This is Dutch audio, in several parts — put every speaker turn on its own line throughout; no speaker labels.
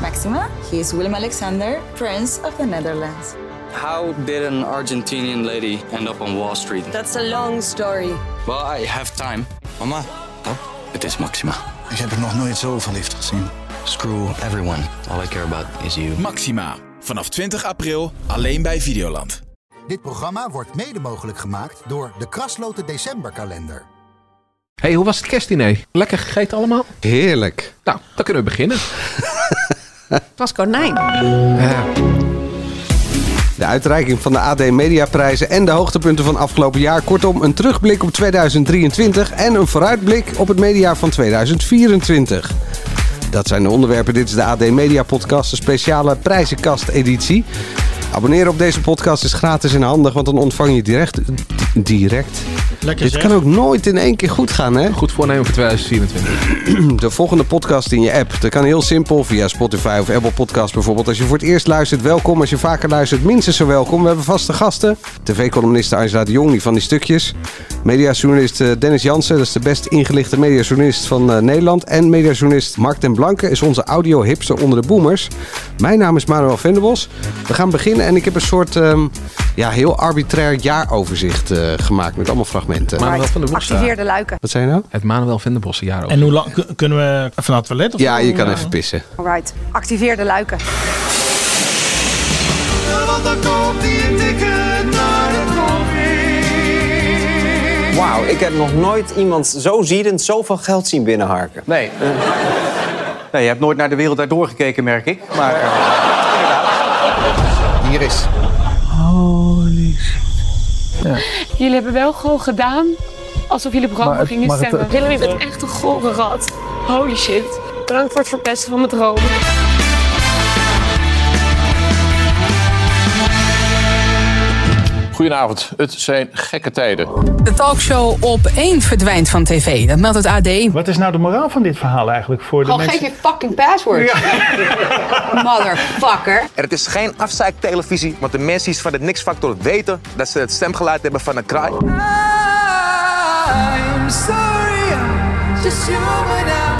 Maxima. He is Willem Alexander, Prince of the Netherlands.
How did an Argentinian lady end up on Wall Street?
That's a long story.
Well, I have time.
Mama,
Het is Maxima.
Ik heb er nog nooit zo verliefd gezien.
Screw everyone. All I care about is you.
Maxima. Vanaf 20 april alleen bij Videoland.
Dit programma wordt mede mogelijk gemaakt door de Krasloten Decemberkalender.
hey, hoe was het kerstdiner? Lekker gegeten allemaal?
heerlijk.
Nou, dan kunnen we beginnen.
Het was konijn.
De uitreiking van de AD Mediaprijzen en de hoogtepunten van afgelopen jaar. Kortom, een terugblik op 2023 en een vooruitblik op het mediaar van 2024. Dat zijn de onderwerpen. Dit is de AD Media Podcast, een speciale prijzenkast-editie. Abonneren op deze podcast is gratis en handig, want dan ontvang je direct. direct.
Lekker
Dit
zeg.
kan ook nooit in één keer goed gaan, hè?
Goed voornemen voor 2024.
de volgende podcast in je app. Dat kan heel simpel via Spotify of Apple Podcast bijvoorbeeld. Als je voor het eerst luistert, welkom. Als je vaker luistert, minstens zo welkom. We hebben vaste gasten. TV-columniste Angela de Jong, die van die stukjes. Mediajournalist eh, Dennis Jansen, dat is de best ingelichte mediajournalist van eh, Nederland. En mediajournalist Mark den Blanke is onze audio-hipster onder de boomers. Mijn naam is Manuel Venderbos. We gaan beginnen en ik heb een soort ehm, ja, heel arbitrair jaaroverzicht eh, gemaakt met allemaal fragmenten.
Manuel van der Bossen.
Activeer de luiken.
Wat zijn nou?
Het Manuel van der Bossen jaar
En hoe lang kun- kunnen we even naar het toilet? Of
Ja, je kan even pissen.
Alright. Activeer de luiken.
Wauw, ik heb nog nooit iemand zo ziedend zoveel geld zien binnenharken.
Nee. Eh. nee. Je hebt nooit naar de wereld daardoor gekeken, merk ik. Maar eh,
Hier is.
Jullie hebben wel gewoon gedaan alsof jullie op Rome gingen stemmen. Willem, je bent echt een gore rat. Holy shit. Bedankt voor het verpesten van mijn droom.
Goedenavond. Het zijn gekke tijden.
De talkshow op 1 verdwijnt van tv. Dat meldt het AD.
Wat is nou de moraal van dit verhaal eigenlijk voor de mensen?
je fucking password. Motherfucker.
Er het is geen afzaaktelevisie, want de mensen van de Nix-factor weten dat ze het stemgeluid hebben van een kraai.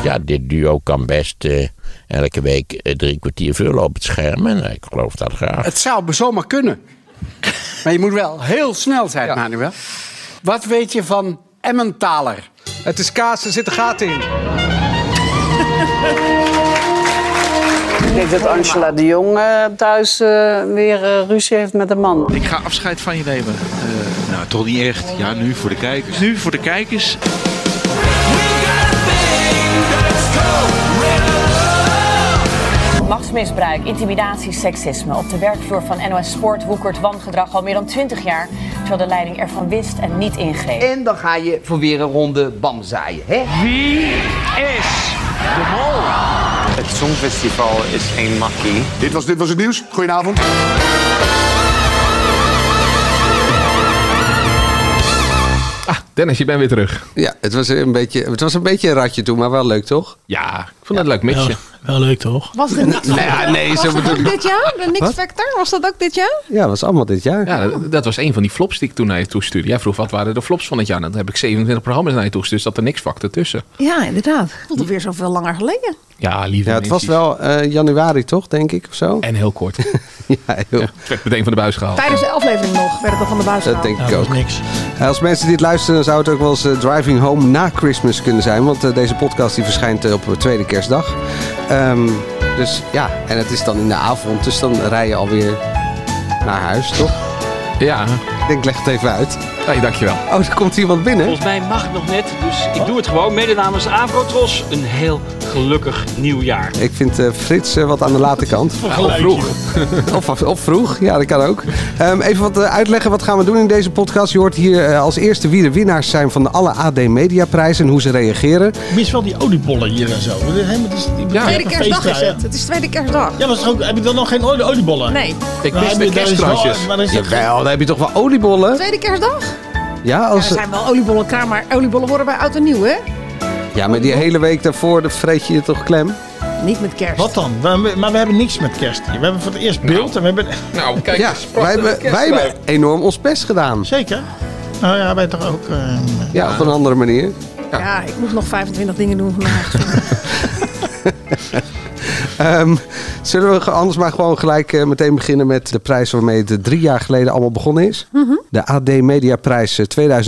Ja, dit duo kan best eh, elke week eh, drie kwartier vullen op het scherm. En ik geloof dat graag.
Het zou zomaar kunnen. Maar je moet wel heel snel zijn, Manuel. Wat weet je van Emmentaler?
Het is kaas, er zit een gat in.
Ik denk dat Angela de Jong eh, thuis weer eh, ruzie heeft met een man.
Ik ga afscheid van je nemen. nou, toch niet echt. Ja, nu voor de kijkers. Nu voor de kijkers.
Machtsmisbruik, intimidatie, seksisme. Op de werkvloer van NOS Sport woekert wangedrag al meer dan 20 jaar. Terwijl de leiding ervan wist en niet ingreep.
En dan ga je voor weer een ronde bam zaaien, hè?
Het Songfestival is geen makkie.
Dit was, dit was het nieuws. Goedenavond.
Dennis, je bent weer terug.
Ja, het was een beetje, het was een, beetje een ratje toen, maar wel leuk toch?
Ja, ik vond het een leuk mixje.
Wel leuk toch?
Was er niks?
Ja, nee, zo bedoel ik.
Dit jaar? De Nix Factor? Was dat ook dit jaar?
Ja, dat was allemaal dit jaar.
Ja, dat, dat was een van die flops die ik toen naar je toe stuurde. Jij vroeg wat waren de flops van het jaar. Dan heb ik 27 programma's naar je toe gestuurd. Zat er niks factor tussen.
Ja, inderdaad. Voelde weer zoveel langer geleden.
Ja, lieve
Ja, het was
mensen.
wel eh, januari toch, denk ik, of zo?
En heel kort.
Ja, heel,
Het werd meteen van de buis gehaald.
Tijdens de aflevering nog werd het al van de buis
dat
gehaald.
denk
Nou,
ik
dat
ook.
is niks.
Eh, Als mensen dit luisteren, dan zou het ook wel eens eh, Driving Home na Christmas kunnen zijn. Want eh, deze podcast die verschijnt eh, op de tweede kerstdag. Ehm, dus ja, en het is dan in de avond, dus dan rij je alweer naar huis, toch?
Ja,
Ik denk, leg het even uit.
hey, dankjewel.
Oh, er komt iemand binnen.
Volgens mij mag het nog net, dus ik doe het gewoon. Mede namens Avrotros, een heel gelukkig nieuwjaar.
Ik vind eh, Frits eh, wat aan de late kant.
Al vroeg.
Of, of vroeg, ja, dat kan ook. Ehm, even wat eh, uitleggen, wat gaan we doen in deze podcast? Je hoort hier eh, als eerste wie de winnaars zijn van de alle AD Media prijzen en hoe ze reageren.
Mis wel die oliebollen hier en zo. Helemaal, het is, die
Ja.
Tweede kerstdag is het.
Ja,
Het is tweede kerstdag.
maar is het ook, heb ik dan nog geen olie- oliebollen?
Nee.
Ik
Nou,
mis
heb
de
je- daar is wel-
kerstkransjes.
maar dan is het-
Jawel, dan heb je toch wel oliebollen?
Tweede kerstdag?
Ja,
Ja, er
als,
zijn wel oliebollen klaar, maar oliebollen worden bij oud en nieuw, hè?
ja maar die hele week daarvoor dan vreet je je toch klem?
Niet met kerst.
Wat dan? We- maar we hebben niks met kerst hier. We hebben voor het eerst beeld en we hebben...
Nou, kijk
Ja,
eens.
wij hebben, wij hebben enorm ons best gedaan.
Zeker. Nou ja, wij toch ook... eh,
Ja, op een andere manier.
Ja, ik moet nog 25 dingen doen vandaag.
Eh, Ehm, zullen we anders maar gewoon gelijk eh, meteen beginnen met de prijs waarmee het drie jaar geleden allemaal begonnen is? De AD Mediaprijs eh,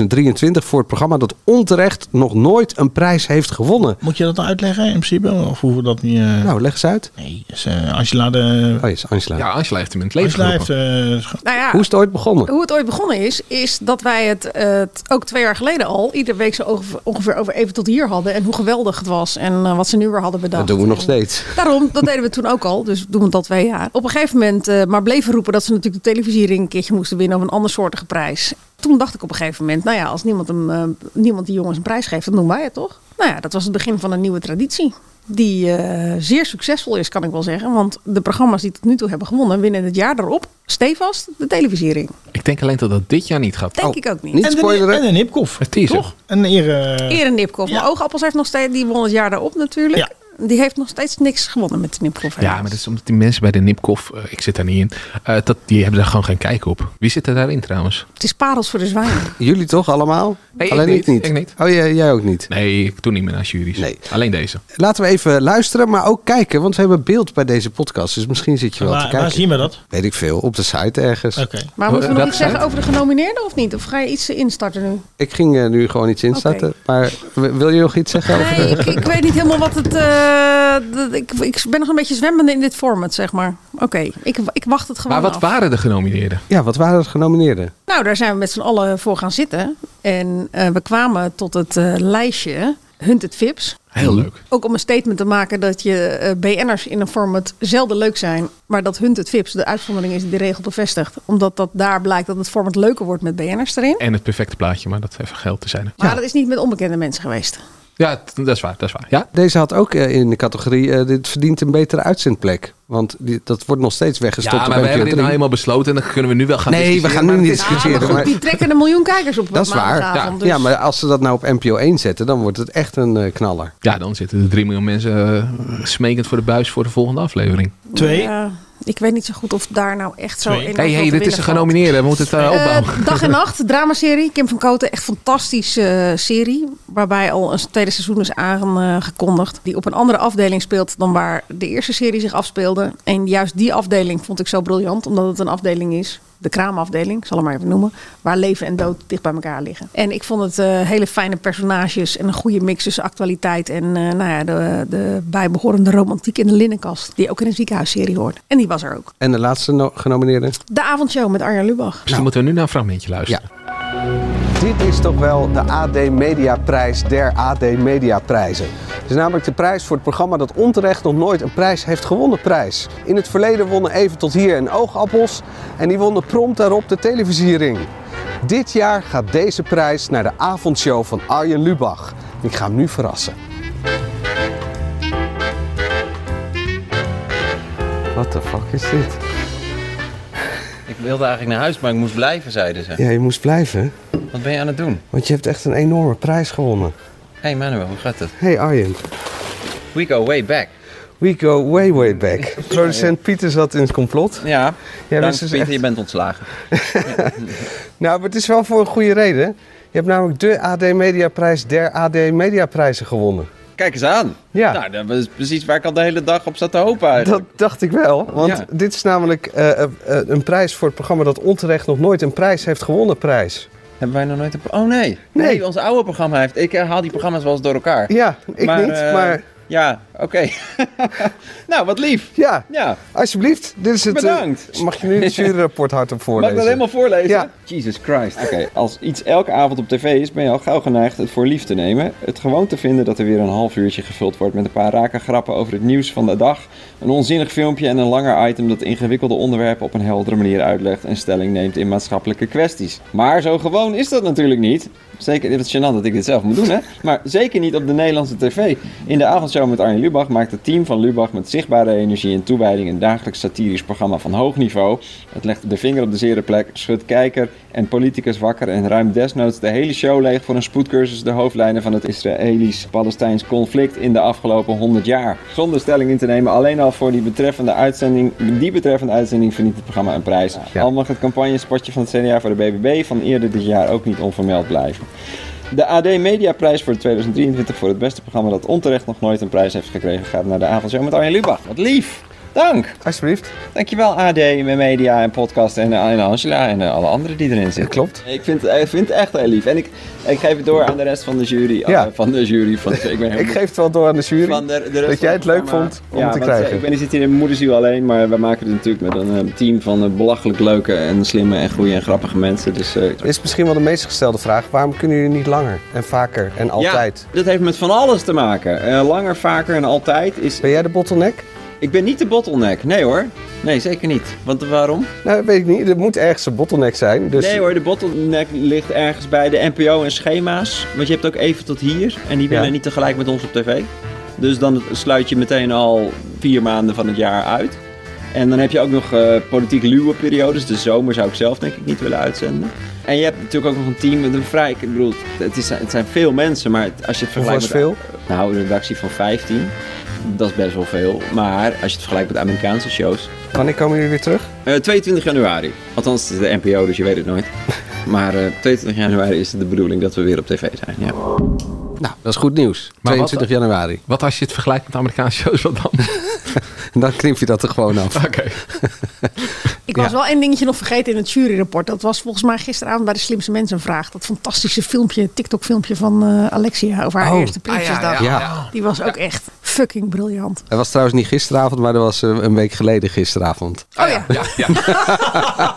2023 voor het programma dat onterecht nog nooit een prijs heeft gewonnen.
Moet je dat nou uitleggen in principe? Of hoeven we dat niet... eh,
Nou, leg eens uit.
Nee, is, eh, Angela de...
Oh, is Angela.
Ja, Angela heeft hem in het leven
Angela heeft...
geroepen.
eh, ge-
Nou ja,
Hoe is het ooit begonnen?
Hoe het ooit begonnen is, is dat wij het eh, t- ook twee jaar geleden al iedere week zo ongeveer- ongeveer over even tot hier hadden. En hoe geweldig het was en eh, wat ze nu weer hadden bedacht.
Dat doen we nog steeds.
Daarom, dat deden we toen ook al. Dus doen we het al twee jaar. Op een gegeven moment eh, maar bleven roepen dat ze natuurlijk de televisiering een keertje moesten winnen of een andersoortige prijs. Toen dacht ik op een gegeven moment, nou ja, als niemand, hem, eh, niemand die jongens een prijs geeft, dan doen wij het toch? Nou ja, dat was het begin van een nieuwe traditie. Die eh, zeer succesvol is, kan ik wel zeggen. Want de programma's die tot nu toe hebben gewonnen, winnen het jaar daarop stevast de televisiering.
Ik denk alleen dat dat dit jaar niet gaat.
Denk
Oh,
ik ook niet.
Niet
En de-
spoileren.
en een Nipkoff.
Het is
toch? Een eer... eh,
Eer Nipkoff. Maar Oogappels heeft nog steeds, die won het jaar daarop natuurlijk. Die heeft nog steeds niks gewonnen met de Nipkoff.
Ja, maar dat is omdat die mensen bij de Nipkoff, eh, ik zit daar niet in, eh, dat, die hebben daar gewoon geen kijk op. Wie zit er daarin trouwens?
Het is parels voor de zwijnen.
Jullie toch allemaal?
Nee, ik
Alleen
niet.
ik niet.
Ik niet.
Oh, jij, jij ook niet?
Nee, ik doe niet meer naar juries. Nee. Alleen deze.
Laten we even luisteren, maar ook kijken. Want we hebben beeld bij deze podcast. Dus misschien zit je wel
Waar-
te
waar
kijken.
zien we dat?
Weet ik veel. Op de site ergens.
Oké.
Maar moeten we nog iets zeggen over de genomineerden of niet? Of ga je iets eh, instarten nu?
Ik ging eh, nu gewoon iets instarten.
Oké.
Maar w- wil je nog iets zeggen? over
Nee,
de-
ik, ik weet niet helemaal wat het... eh, dat- ik, ik ben nog een beetje zwemmende in dit format, zeg maar. Oké, ik, ik wacht het gewoon
Maar wat
af.
waren de genomineerden?
Ja, wat waren de genomineerden?
Nou, daar zijn we met z'n allen voor gaan zitten. En eh, we kwamen tot het eh, lijstje Hunted Vips.
Heel leuk.
Ook om een statement te maken dat je eh, BN'ers in een format zelden leuk zijn. Maar dat Hunted Vips de uitzondering is die de regel bevestigt. Omdat dat daar blijkt dat het format leuker wordt met BN'ers erin.
En het perfecte plaatje, maar dat even geld te zijn.
Maar dat is niet met onbekende mensen geweest.
Ja, t- dat is waar, dat is waar. Ja?
Deze had ook eh, in de categorie, eh, dit verdient een betere uitzendplek. Want die, dat wordt nog steeds weggestopt
ja,
op
maar we
NPO
hebben dit
3.
nou helemaal besloten en dan kunnen we nu wel gaan
Nee,
discussiëren,
we gaan nu
maar
niet
dat is-
discussiëren.
Maar goed, die trekken een miljoen kijkers op. op
dat is waar. Ja.
maandagavond, dus-
ja, maar als ze dat nou op NPO 1 zetten, dan wordt het echt een eh, knaller.
Ja, dan zitten er 3 miljoen mensen eh, smekend voor de buis voor de volgende aflevering.
Ja, ik weet niet zo goed of daar nou echt zo...
Hé,
enorm
hey,
veel
hey,
te
dit is
winnen
een
valt.
genomineerde. We moeten het eh, opbouwen.
Eh, dag en nacht, dramaserie. Kim van Koten, echt fantastische eh, serie. Waarbij al een tweede seizoen is aangekondigd. Die op een andere afdeling speelt dan waar de eerste serie zich afspeelde. En juist die afdeling vond ik zo briljant. Omdat het een afdeling is, de kraamafdeling, ik zal hem maar even noemen. Waar leven en dood dicht bij elkaar liggen. En ik vond het eh, hele fijne personages en een goede mix tussen actualiteit en eh, nou ja, de, de bijbehorende romantiek in de linnenkast. Die ook in een ziekenhuisserie hoort. En die was er ook.
En de laatste no- genomineerde?
De avondshow met Arjan Lubach.
Misschien Dus moeten we nu naar een fragmentje luisteren.
Dit is toch wel de AD Mediaprijs der AD Mediaprijzen. Het is namelijk de prijs voor het programma dat onterecht nog nooit een prijs heeft gewonnen prijs. In het verleden wonnen Even tot hier en Oogappels en die wonnen prompt daarop de televisiering. Dit jaar gaat deze prijs naar de avondshow van Arjen Lubach. Ik ga hem nu verrassen. What the fuck is dit?
Ik wilde eigenlijk naar huis, maar ik moest blijven, zeiden ze.
Ja, je moest blijven,
Wat ben je aan het doen?
want je hebt echt een enorme prijs gewonnen.
Hey Manuel, hoe gaat het?
Hey Arjen.
We go way back.
We go way, way back. Producent Pieter zat in het complot.
Ja,
Jij
dank
wist dus
Pieter,
echt-
je bent ontslagen.
Nou, maar het is wel voor een goede reden. Je hebt namelijk de AD Mediaprijs der AD Mediaprijzen gewonnen.
Kijk eens aan.
Ja.
Nou, dat is precies waar ik al de hele dag op zat te hopen
Dat
eigenlijk.
dacht ik wel, want
Ja.
dit is namelijk eh, eh, eh, een prijs voor het programma dat onterecht nog nooit een prijs heeft gewonnen prijs.
Hebben wij nog nooit een... Oh nee.
Nee.
ons oude programma heeft... Ik haal die programma's wel eens door elkaar.
Ja, ik niet,
eh,
maar-
Ja, oké. nou, wat lief.
Ja,
Ja.
alsjeblieft. Dit is het. eh,
Bedankt.
mag je nu het juryrapport hardop
Mag
voorlezen?
ik dat helemaal voorlezen?
Ja.
Jesus Christ. Oké, als iets elke avond op tv is, ben je al gauw geneigd het voor lief te nemen. Het gewoon te vinden dat er weer een half uurtje gevuld wordt met een paar rake grappen over het nieuws van de dag. Een onzinnig filmpje en een langer item dat ingewikkelde onderwerpen op een heldere manier uitlegt en stelling neemt in maatschappelijke kwesties. Maar zo gewoon is dat natuurlijk niet. Zeker, het is gênant dat ik dit zelf moet doen, hè? Maar zeker niet op de Nederlandse tv. In de avondshow met Arjen Lubach maakt het team van Lubach met zichtbare energie en toewijding een dagelijks satirisch programma van hoog niveau. Het legt de vinger op de zere plek, schudt kijker en politicus wakker en ruimt desnoods de hele show leeg voor een spoedcursus de hoofdlijnen van het Israëlisch-Palestijns conflict in de afgelopen 100 jaar. Zonder stelling in te nemen, alleen al voor die betreffende uitzending, die betreffende uitzending verdient het programma een prijs. Al mag het campagnespotje van het CDA voor de BBB van eerder dit jaar ook niet onvermeld blijven. De AD Mediaprijs voor 2023 voor het beste programma dat onterecht nog nooit een prijs heeft gekregen gaat naar de avondshow met Arjen Lubach. Wat lief! Dank!
Alsjeblieft.
Dankjewel AD, mijn media en podcast en, en Angela en eh, alle anderen die erin zitten.
klopt.
Ik vind, ik vind het echt heel lief. En ik, ik geef het door aan de rest van de jury.
Ja.
Eh, Van de jury. Van de, ik ben heel
Ik geef het wel door aan de jury.
Van de- de rest
dat jij het
van
leuk
programma.
vond om
Ja,
te
want,
krijgen.
eh, Ik ben ik zit hier in moederziel alleen, maar we maken het natuurlijk met een eh, team van eh, belachelijk leuke en slimme en goede en grappige mensen. Dus, eh,
Is misschien wel de meest gestelde vraag. Waarom kunnen jullie niet langer en vaker en altijd?
Ja, dat heeft met van alles te maken. Eh, langer, vaker en altijd is...
Ben jij de bottleneck?
Ik ben niet de bottleneck, nee hoor. Nee, zeker niet. Want waarom?
Nou, weet ik niet. Er moet ergens een bottleneck zijn. Dus...
Nee hoor, de bottleneck ligt ergens bij de NPO en schema's. Want je hebt ook even tot hier en die willen
Ja.
niet tegelijk met ons op tv. Dus dan sluit je meteen al vier maanden van het jaar uit. En dan heb je ook nog eh, politiek luwe periodes. De zomer zou ik zelf denk ik niet willen uitzenden. En je hebt natuurlijk ook nog een team met een vrij... Ik bedoel, het, is, het zijn veel mensen, maar het- als je het
Hoeveel
vergelijkt
is
met-
veel?
Nou, een redactie van 15. Dat is best wel veel. Maar als je het vergelijkt met Amerikaanse shows...
Wanneer komen jullie weer terug?
Eh, 22 januari. Althans, het is de NPO, dus je weet het nooit. Maar eh, 22 januari is de bedoeling dat we weer op tv zijn. Ja.
Nou, dat is goed nieuws.
Maar wat-
22 januari.
Wat als je het vergelijkt met Amerikaanse shows, wat dan?
dan knip je dat er gewoon af.
Oké.
Ik was wel één dingetje nog vergeten in het juryrapport. Dat was volgens mij gisteravond bij de slimste mensen een vraag. Dat fantastische filmpje, TikTok-filmpje van eh, Alexia over haar
Oh.
eerste Prinsjesdag.
Ah, ja, ja, ja.
Die was ook echt fucking briljant.
Het was trouwens niet gisteravond, maar dat was eh, een week geleden gisteravond.
Oh ja.
Ja, ja. Ja,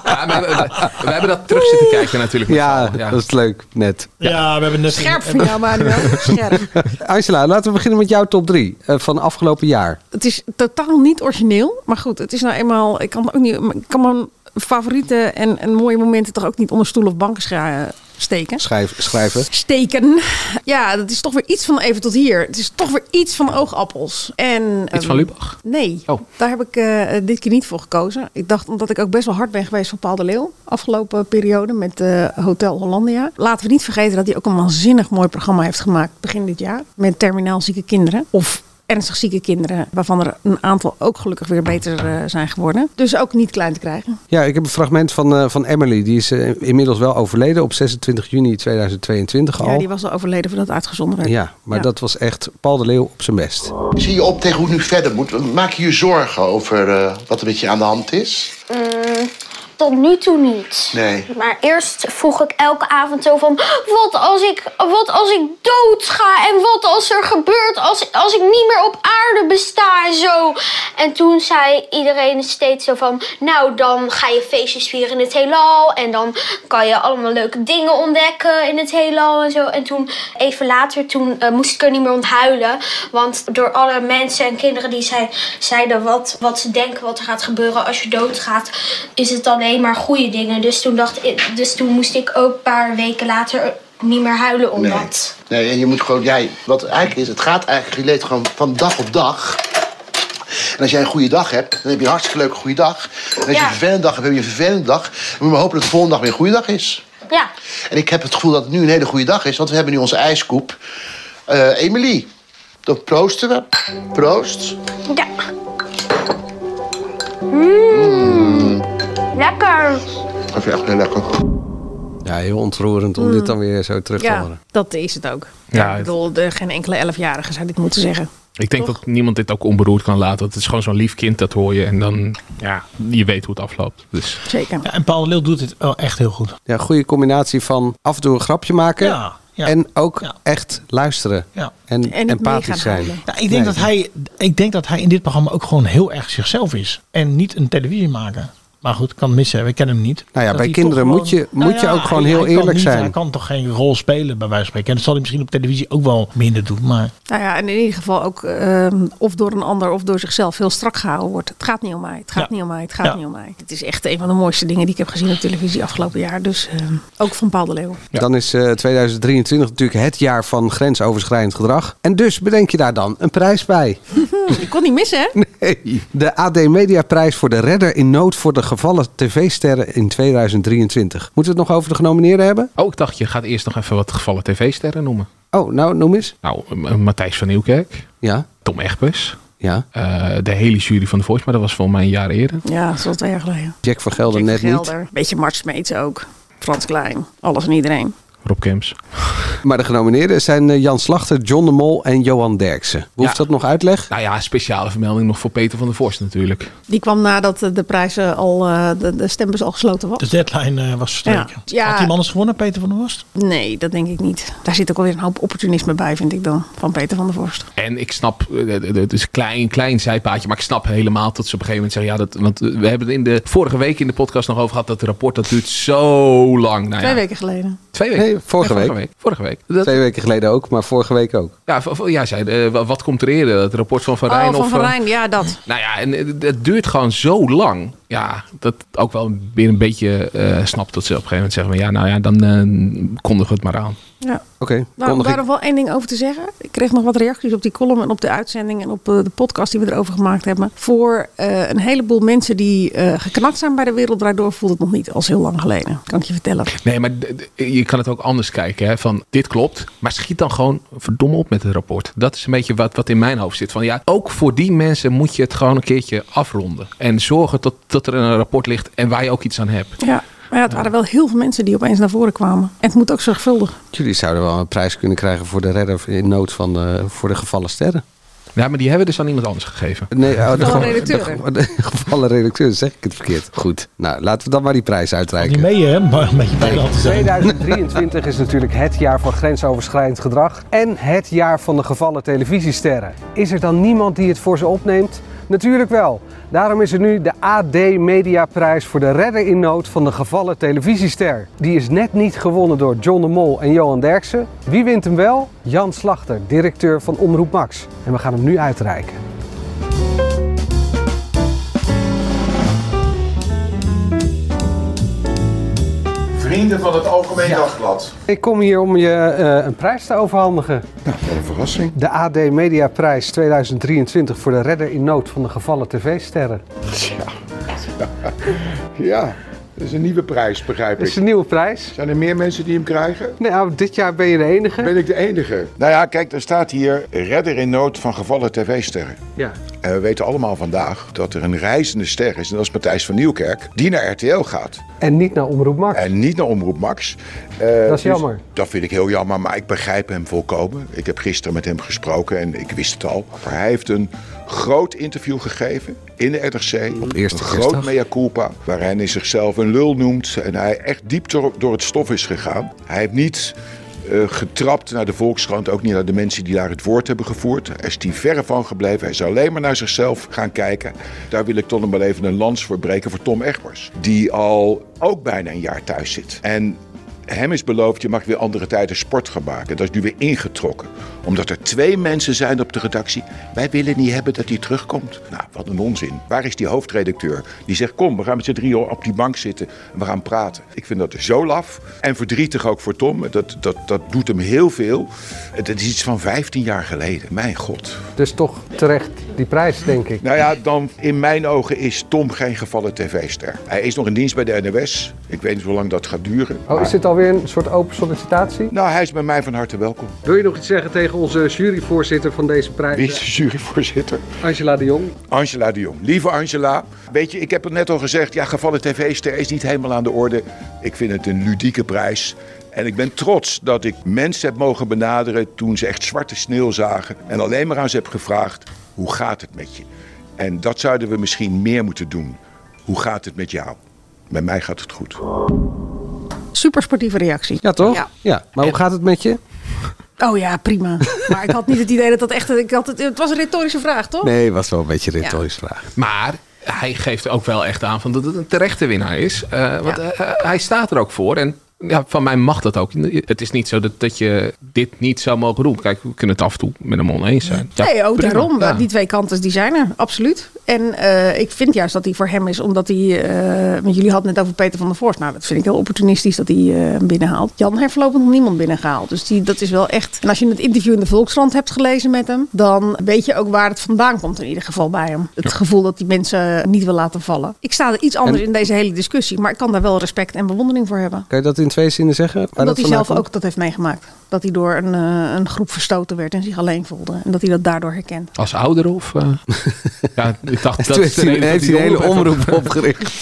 Ah, maar we, we- we hebben dat terug zitten kijken natuurlijk. met z'n
Ja,
allen, ja.
dat is leuk, net.
Ja, we hebben net...
Scherp voor jou, Manuel. Scherp.
Angela, laten we beginnen met jouw top 3 van afgelopen jaar.
Het is totaal niet origineel. Maar goed, het is nou eenmaal. Ik kan ook niet. Ik kan mijn favorieten en, en mooie momenten toch ook niet onder stoel of banken scha- steken.
Schrijf, schrijven.
Steken. Ja, dat is toch weer iets van even tot hier. Het is toch weer iets van oogappels. En, ehm,
van Lubach?
Nee, daar heb ik eh, dit keer niet voor gekozen. Ik dacht omdat ik ook best wel hard ben geweest van Paul de Leeuw. Afgelopen periode met eh, Hotel Hollandia. Laten we niet vergeten dat hij ook een waanzinnig mooi programma heeft gemaakt begin dit jaar. Met terminaal zieke kinderen. Of ernstig zieke kinderen. Waarvan er een aantal ook gelukkig weer beter eh, zijn geworden. Dus ook niet klein te krijgen.
Ja, ik heb een fragment van, eh, van Emily. Die is eh, inmiddels wel overleden op 26 juni 2022 al.
Ja, die was al overleden voordat het uitgezonden werd.
Ja, maar dat was echt Paul de Leeuw op zijn best.
Zie je op tegen hoe het nu verder moet? Maak je je zorgen over eh, wat er met je aan de hand is?
Mm, tot nu toe niet.
Nee.
Maar eerst vroeg ik elke avond zo van... Wat als ik, wat als ik dood ga? En wat als er gebeurt als, als ik niet meer op aarde besta en zo? En toen zei iedereen steeds zo van... Nou, dan ga je feestjes vieren in het heelal. En dan kan je allemaal leuke dingen ontdekken in het heelal en zo. En toen, even later, toen eh, moest ik er niet meer om huilen. Want door alle mensen en kinderen die zei, zeiden wat, wat ze denken wat er gaat gebeuren als je doodgaat, is het alleen maar goede dingen. Dus toen, dacht ik, dus toen moest ik ook een paar weken later niet meer huilen om dat.
Nee, en je moet gewoon, jij, wat eigenlijk is, het gaat eigenlijk, je leeft gewoon van dag op dag. En als jij een goede dag hebt, dan heb je een hartstikke leuke goede dag. En als je een vervelende dag hebt, heb je een vervelende dag. Dan moet je maar hopen dat de volgende dag weer een goede dag is.
Ja.
En ik heb het gevoel dat het nu een hele goede dag is, want we hebben nu onze ijskoep. Eh Emily, dan proosten we. Proost.
Ja. Mm, Lekker.
Dat is echt heel lekker.
Ja, heel ontroerend om
Mm.
dit dan weer zo terug te
Ja,
horen.
dat is het ook.
Ja,
Ja, ik
het-
bedoel, de, geen enkele elfjarige zou dit moeten zeggen.
Ik denk dat niemand dit ook onberoerd kan laten. Het is gewoon zo'n lief kind, dat hoor je. En dan, ja, je weet hoe het afloopt. Dus.
Zeker.
en Paul de Leeuw doet het wel echt heel goed.
Ja, goede combinatie van af en toe een grapje maken.
Ja, ja.
En ook echt luisteren. En, empathisch zijn.
Nou, ik, denk dat hij, ik denk dat hij in dit programma ook gewoon heel erg zichzelf is. En niet een televisie maken. Maar goed, kan missen. We kennen hem niet.
Nou ja,
Dat
bij
hij
kinderen
toch
moet je- moet je ook gewoon heel
kan
eerlijk
niet-
zijn.
Hij kan toch geen rol spelen bij wijze van spreken. En dat zal hij misschien op televisie ook wel minder doen. Maar
Nou ja, en in ieder geval ook ehm, of door een ander of door zichzelf heel strak gehouden wordt. Het gaat niet om mij, het gaat
Ja.
niet om mij, het gaat
Ja.
niet om mij. Het is echt een van de mooiste dingen die ik heb gezien op televisie afgelopen jaar. Dus ehm, ook van Paul de Leeuw.
Dan is eh, 2023 natuurlijk het jaar van grensoverschrijdend gedrag. En dus bedenk je daar dan een prijs bij.
Ik kon niet missen, hè?
Nee. De AD Media Prijs voor de redder in nood voor de gevallen tv-sterren in 2023. Moeten we het nog over de genomineerden hebben?
Oh, ik dacht, je gaat eerst nog even wat gevallen tv-sterren noemen.
Oh, nou, noem eens.
Nou, eh, Matthijs van Nieuwkerk.
Ja.
Tom Egbers. eh,
Ja.
de hele jury van de Voice, maar dat was volgens mij een jaar eerder.
Ja, dat is al twee jaar geleden.
Jack van Gelder net
Gelder, beetje Mart Smeets ook. Frans Klein, alles en iedereen.
Rob Kemps.
Maar de genomineerden zijn eh, Jan Slachter, John de Mol en Johan Derksen. Hoeft dat nog uitleg?
Nou ja, speciale vermelding nog voor Peter van der Vorst natuurlijk.
Die kwam nadat eh, de prijzen al, eh, de, de stembus al gesloten was.
De deadline eh, was verstreken.
Ja. Ja.
Had die man eens gewonnen, Peter van der Horst?
Nee, dat denk ik niet. Daar zit ook alweer een hoop opportunisme bij, vind ik dan, van Peter van der Vorst.
En ik snap, eh, eh, het is een klein, klein zijpaadje, maar ik snap helemaal dat ze op een gegeven moment zeggen, ja, dat, want eh, we hebben het in de vorige week in de podcast nog over gehad, dat rapport, dat duurt zo lang. Nou ja,
Twee weken geleden.
Twee weken?
Nee, vorige
Nee,
week.
Vorige week. Dat-
Twee weken geleden ook, maar vorige week ook.
ja, v- v- ja, zei, eh, wa- wat komt er eerder? Het rapport van Van Rijn?
oh, van
of,
Van
eh,
Rijn, ja, dat.
Nou ja, en eh, dat duurt gewoon zo lang. Ja, dat ook wel weer een beetje eh snapt dat ze op een gegeven moment zeggen, van, ja, nou ja, dan eh kondigen we het maar aan.
Ja.
Oké,
Nou, daar nog wel één ding over te zeggen. Ik kreeg nog wat reacties op die column en op de uitzending en op eh, de podcast die we erover gemaakt hebben. Voor eh, een heleboel mensen die eh, geknakt zijn bij de Wereld Draait Door voelt het nog niet als heel lang geleden. Kan ik je vertellen.
Nee, maar d- d- je kan het ook anders kijken. Hè? Van dit klopt, maar schiet dan gewoon verdomme op met het rapport. Dat is een beetje wat, wat in mijn hoofd zit. Van ja, ook voor die mensen moet je het gewoon een keertje afronden. En zorgen dat, dat er een rapport ligt en waar je ook iets aan hebt.
Ja, maar ja, het waren wel heel veel mensen die opeens naar voren kwamen. En het moet ook zorgvuldig.
Jullie zouden wel een prijs kunnen krijgen voor de redder in nood van de, voor de gevallen sterren.
Ja, maar die hebben dus aan iemand anders gegeven.
Nee, oh, de,
Gevallen
ge-
redacteuren.
de ge- de gevallen redacteur, zeg ik het verkeerd. Goed, nou laten we dan maar die prijs uitreiken.
Die mee, hè? Maar een beetje bij de hand te zijn.
2023 is natuurlijk het jaar van grensoverschrijdend gedrag en het jaar van de gevallen televisiesterren. Is er dan niemand die het voor ze opneemt? Natuurlijk wel. Daarom is er nu de AD Mediaprijs voor de redder in nood van de gevallen televisiester. Die is net niet gewonnen door John de Mol en Johan Derksen. Wie wint hem wel? Jan Slachter, directeur van Omroep Max. En we gaan hem nu uitreiken.
Vrienden van het Algemeen Dagblad.
Ik kom hier om je eh, een prijs te overhandigen.
Nou, wat een verrassing.
De AD Mediaprijs 2023 voor de redder in nood van de gevallen tv-sterren.
Ja, dat is een nieuwe prijs, begrijp ik.
Dat is een nieuwe prijs.
Zijn er meer mensen die hem krijgen?
Nou, dit jaar ben je de enige.
Ben ik de enige? Nou ja, kijk, er staat hier redder in nood van gevallen tv-sterren.
Ja.
En we weten allemaal vandaag dat er een reizende ster is, en dat is Matthijs van Nieuwkerk, die naar RTL gaat.
En niet naar Omroep Max.
En niet naar Omroep Max. Eh,
Dat is jammer.
Dat vind ik heel jammer, maar ik begrijp hem volkomen. Ik heb gisteren met hem gesproken en ik wist het al. Maar hij heeft een groot interview gegeven in de RTC. Op
eerste
Een groot
kerstdag.
mea culpa, waar hij in zichzelf een lul noemt. En hij echt diep door, door het stof is gegaan. Hij heeft niet... eh, getrapt naar de Volkskrant, ook niet naar de mensen die daar het woord hebben gevoerd. Hij is die verre van gebleven. Hij is alleen maar naar zichzelf gaan kijken. Daar wil ik toch nog wel even een lans voor breken voor Tom Egbers. Die al ook bijna een jaar thuis zit. En hem is beloofd, je mag weer andere tijden sport gaan maken. Dat is nu weer ingetrokken. Omdat er twee mensen zijn op de redactie. Wij willen niet hebben dat hij terugkomt. Nou, wat een onzin. Waar is die hoofdredacteur? Die zegt, kom, we gaan met z'n drieën op die bank zitten. En we gaan praten. Ik vind dat zo laf. En verdrietig ook voor Tom. Dat, dat, dat doet hem heel veel. Het is iets van 15 jaar geleden. Mijn god.
Dus toch terecht die prijs, denk ik.
Nou ja, dan in mijn ogen is Tom geen gevallen tv-ster. Hij is nog in dienst bij de NOS. Ik weet niet hoe lang dat gaat duren.
Oh, is dit alweer een soort open sollicitatie?
Nou, hij is bij mij van harte welkom.
Wil je nog iets zeggen tegen onze juryvoorzitter van deze prijs?
Wie is de juryvoorzitter?
Angela de Jong.
Angela de Jong. Lieve Angela, weet je, ik heb het net al gezegd. Ja, gevallen tv-ster is niet helemaal aan de orde. Ik vind het een ludieke prijs. En ik ben trots dat ik mensen heb mogen benaderen toen ze echt zwarte sneeuw zagen. En alleen maar aan ze heb gevraagd, hoe gaat het met je? En dat zouden we misschien meer moeten doen. Hoe gaat het met jou? Bij mij gaat het goed.
Supersportieve reactie.
Ja, toch?
Ja.
maar hoe gaat het met je?
Oh ja, prima. Maar ik had niet het idee dat dat echt... Ik had het, het was een retorische vraag, toch?
Nee, was wel een beetje
Ja.
retorische vraag.
Maar hij geeft ook wel echt aan van dat het een terechte winnaar is. Eh, want eh, eh, hij staat er ook voor. En ja, van mij mag dat ook. Het is niet zo dat, dat je dit niet zou mogen doen. Kijk, we kunnen het af en toe met hem oneens zijn. Ja,
nee, ook
prima.
daarom.
Ja.
Die twee kanten die zijn er, absoluut. En eh, ik vind juist dat die voor hem is, omdat hij... eh, want jullie hadden het net over Peter van der Voort. Nou, dat vind ik heel opportunistisch dat hij eh, hem binnenhaalt. Jan heeft voorlopig nog niemand binnengehaald. Dus die, dat is wel echt... En als je het interview in de Volkskrant hebt gelezen met hem... dan weet je ook waar het vandaan komt in ieder geval bij hem. Het gevoel dat die mensen niet wil laten vallen. Ik sta er iets anders
En-
in deze hele discussie. Maar ik kan daar wel respect en bewondering voor hebben.
Kan je dat in twee zinnen zeggen? Waar
Omdat hij
vandaan
zelf
komt?
ook dat heeft meegemaakt. Dat hij door een, eh, een groep verstoten werd en zich alleen voelde. En dat hij dat daardoor herkent.
Als ouder of... eh, ja, ik dacht, dat
Toen
is
heeft
de
hij,
reden dat
heeft
die
hij een hele
omroep
omroep
heeft.
opgericht.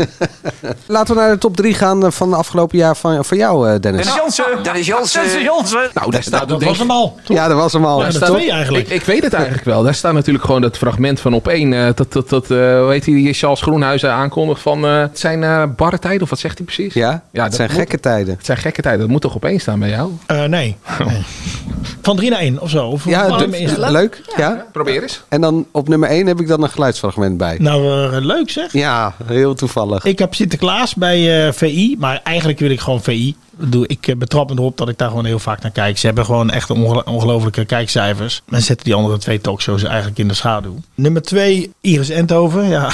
Laten we naar de top 3 gaan eh, van het afgelopen jaar van, van jou, eh, Dennis.
Nou, ah,
Jansen. Dennis Jansen. Dennis Jansen.
Nou, daar staat
Dat was hem
nou,
al.
Ja, dat was hem al.
Ja, de Nou, twee eigenlijk.
Oh, Ik, ik weet het eigenlijk wel. Daar staat natuurlijk gewoon dat fragment van op één. eh, dat, dat, dat eh, hoe heet die, die Charles Groenhuizen aankondigt van... eh, het zijn eh, barre tijden, of wat zegt hij precies?
Ja,
dat
het zijn
moet-
gekke tijden.
Het zijn gekke tijden. Dat moet toch op één staan bij jou?
Eh, nee. nee. Van 3 naar 1 of zo. Of
Ja,
waarom
d-
is het?
leuk. Ja.
Probeer eens.
En dan op nummer 1 heb ik dan een geluidsfragment bij.
Nou, eh, leuk zeg.
Ja, heel toevallig.
Ik heb Sinterklaas bij eh, VI, maar eigenlijk wil ik gewoon VI. Ik Doe, ik eh, betrap me erop dat ik daar gewoon heel vaak naar kijk. Ze hebben gewoon echt ongel- ongelofelijke kijkcijfers. En zetten die andere twee talkshows eigenlijk in de schaduw. Nummer 2, Iris Endhoven. Ja,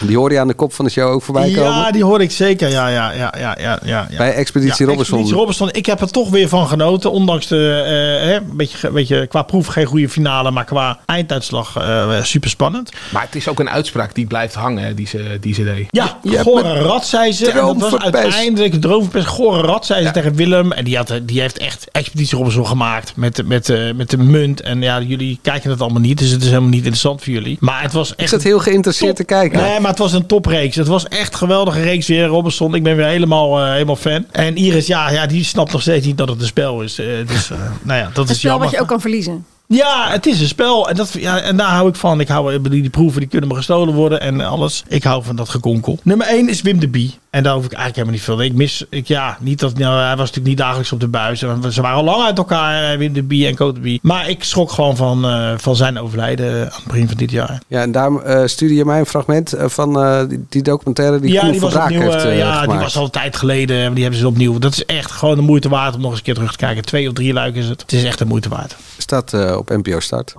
Die hoorde je aan de kop van de show ook voorbij komen.
ja die hoor ik zeker. Ja, ja, ja, ja, ja, ja. ja.
Bij Expeditie
Ja,
Robinson.
Expeditie Robinson. Ik heb er toch weer van genoten. Ondanks de, eh, hè, een beetje, een beetje qua proef geen goede finale. Maar qua einduitslag eh super spannend.
Maar het is ook een uitspraak die blijft hangen, hè, die ze, die ze deed.
Ja,
Je hebt
gore
me
rat, zei ze. En dat was
droomverpest.
uiteindelijk droomverpest. Gore rat, zei ze tegen Willem. En die, had, die heeft echt Expeditie Robinson gemaakt met, met, eh, met de munt. En ja, jullie kijken dat allemaal niet. Dus het is helemaal niet interessant voor jullie. Maar het was echt...
zat heel geïnteresseerd te kijken.
Nee, maar het was een topreeks. Het was echt een geweldige reeks weer. Robinson, ik ben weer helemaal, eh, helemaal fan. En Iris, ja, ja, die snapt nog steeds niet dat het een spel is. Eh, dus, eh, nou ja, dat
Een
is
spel
jammer.
wat je ook kan verliezen.
Ja, het is een spel. En, dat, ja, en daar hou ik van. Ik hou eh, die, die proeven, die kunnen me gestolen worden en alles. Ik hou van dat gekonkel. Nummer 1 is Wim de Bie. En daar hoef ik eigenlijk helemaal niet veel. Ik mis, ik, ja, niet dat, nou, hij was natuurlijk niet dagelijks op de buis. En Ze waren al lang uit elkaar, eh, Wim de Bie en Cote de Bie. Maar ik schrok gewoon van, eh, van zijn overlijden aan het begin van dit jaar.
Ja, en daar eh, stuurde je mij een fragment eh, van eh, die, die documentaire die
ja,
Koen
die
van
was
Braak
opnieuw,
heeft
eh,
eh,
ja, die
gemaakt.
was al een tijd geleden. Maar die hebben ze opnieuw. Dat is echt gewoon de moeite waard om nog eens een keer terug te kijken. Twee of drie luik is het. Het is echt de moeite waard.
Staat eh, op NPO Start.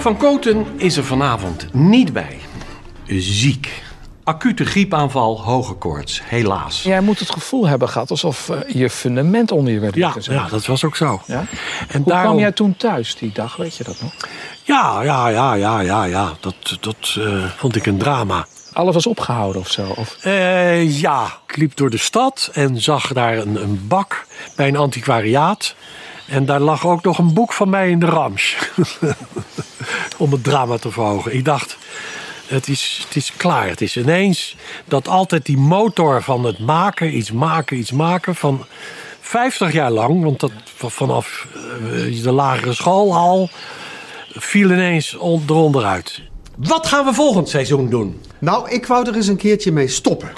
Van Koten is er vanavond niet bij. Ziek. Acute griepaanval, hoge koorts, helaas.
Jij moet het gevoel hebben gehad alsof eh, je fundament onder je werd
Ja,
gezet.
ja, dat was ook zo.
Ja? Hoe
En daarom-
kwam jij toen thuis die dag, weet je dat nog?
Ja, ja, ja, ja, ja, ja. Dat, dat eh, vond ik een drama.
Alles was opgehouden of zo? Of...
Eh, ja, ik liep door de stad en zag daar een, een bak bij een antiquariaat. En daar lag ook nog een boek van mij in de rams. Om het drama te verhogen. Ik dacht, het is, het is klaar. Het is ineens dat altijd die motor van het maken, iets maken, iets maken... van 50 jaar lang, want dat v- vanaf eh, de lagere school al... viel ineens on, eronder uit. Wat gaan we volgend seizoen doen?
Nou, ik wou er eens een keertje mee stoppen.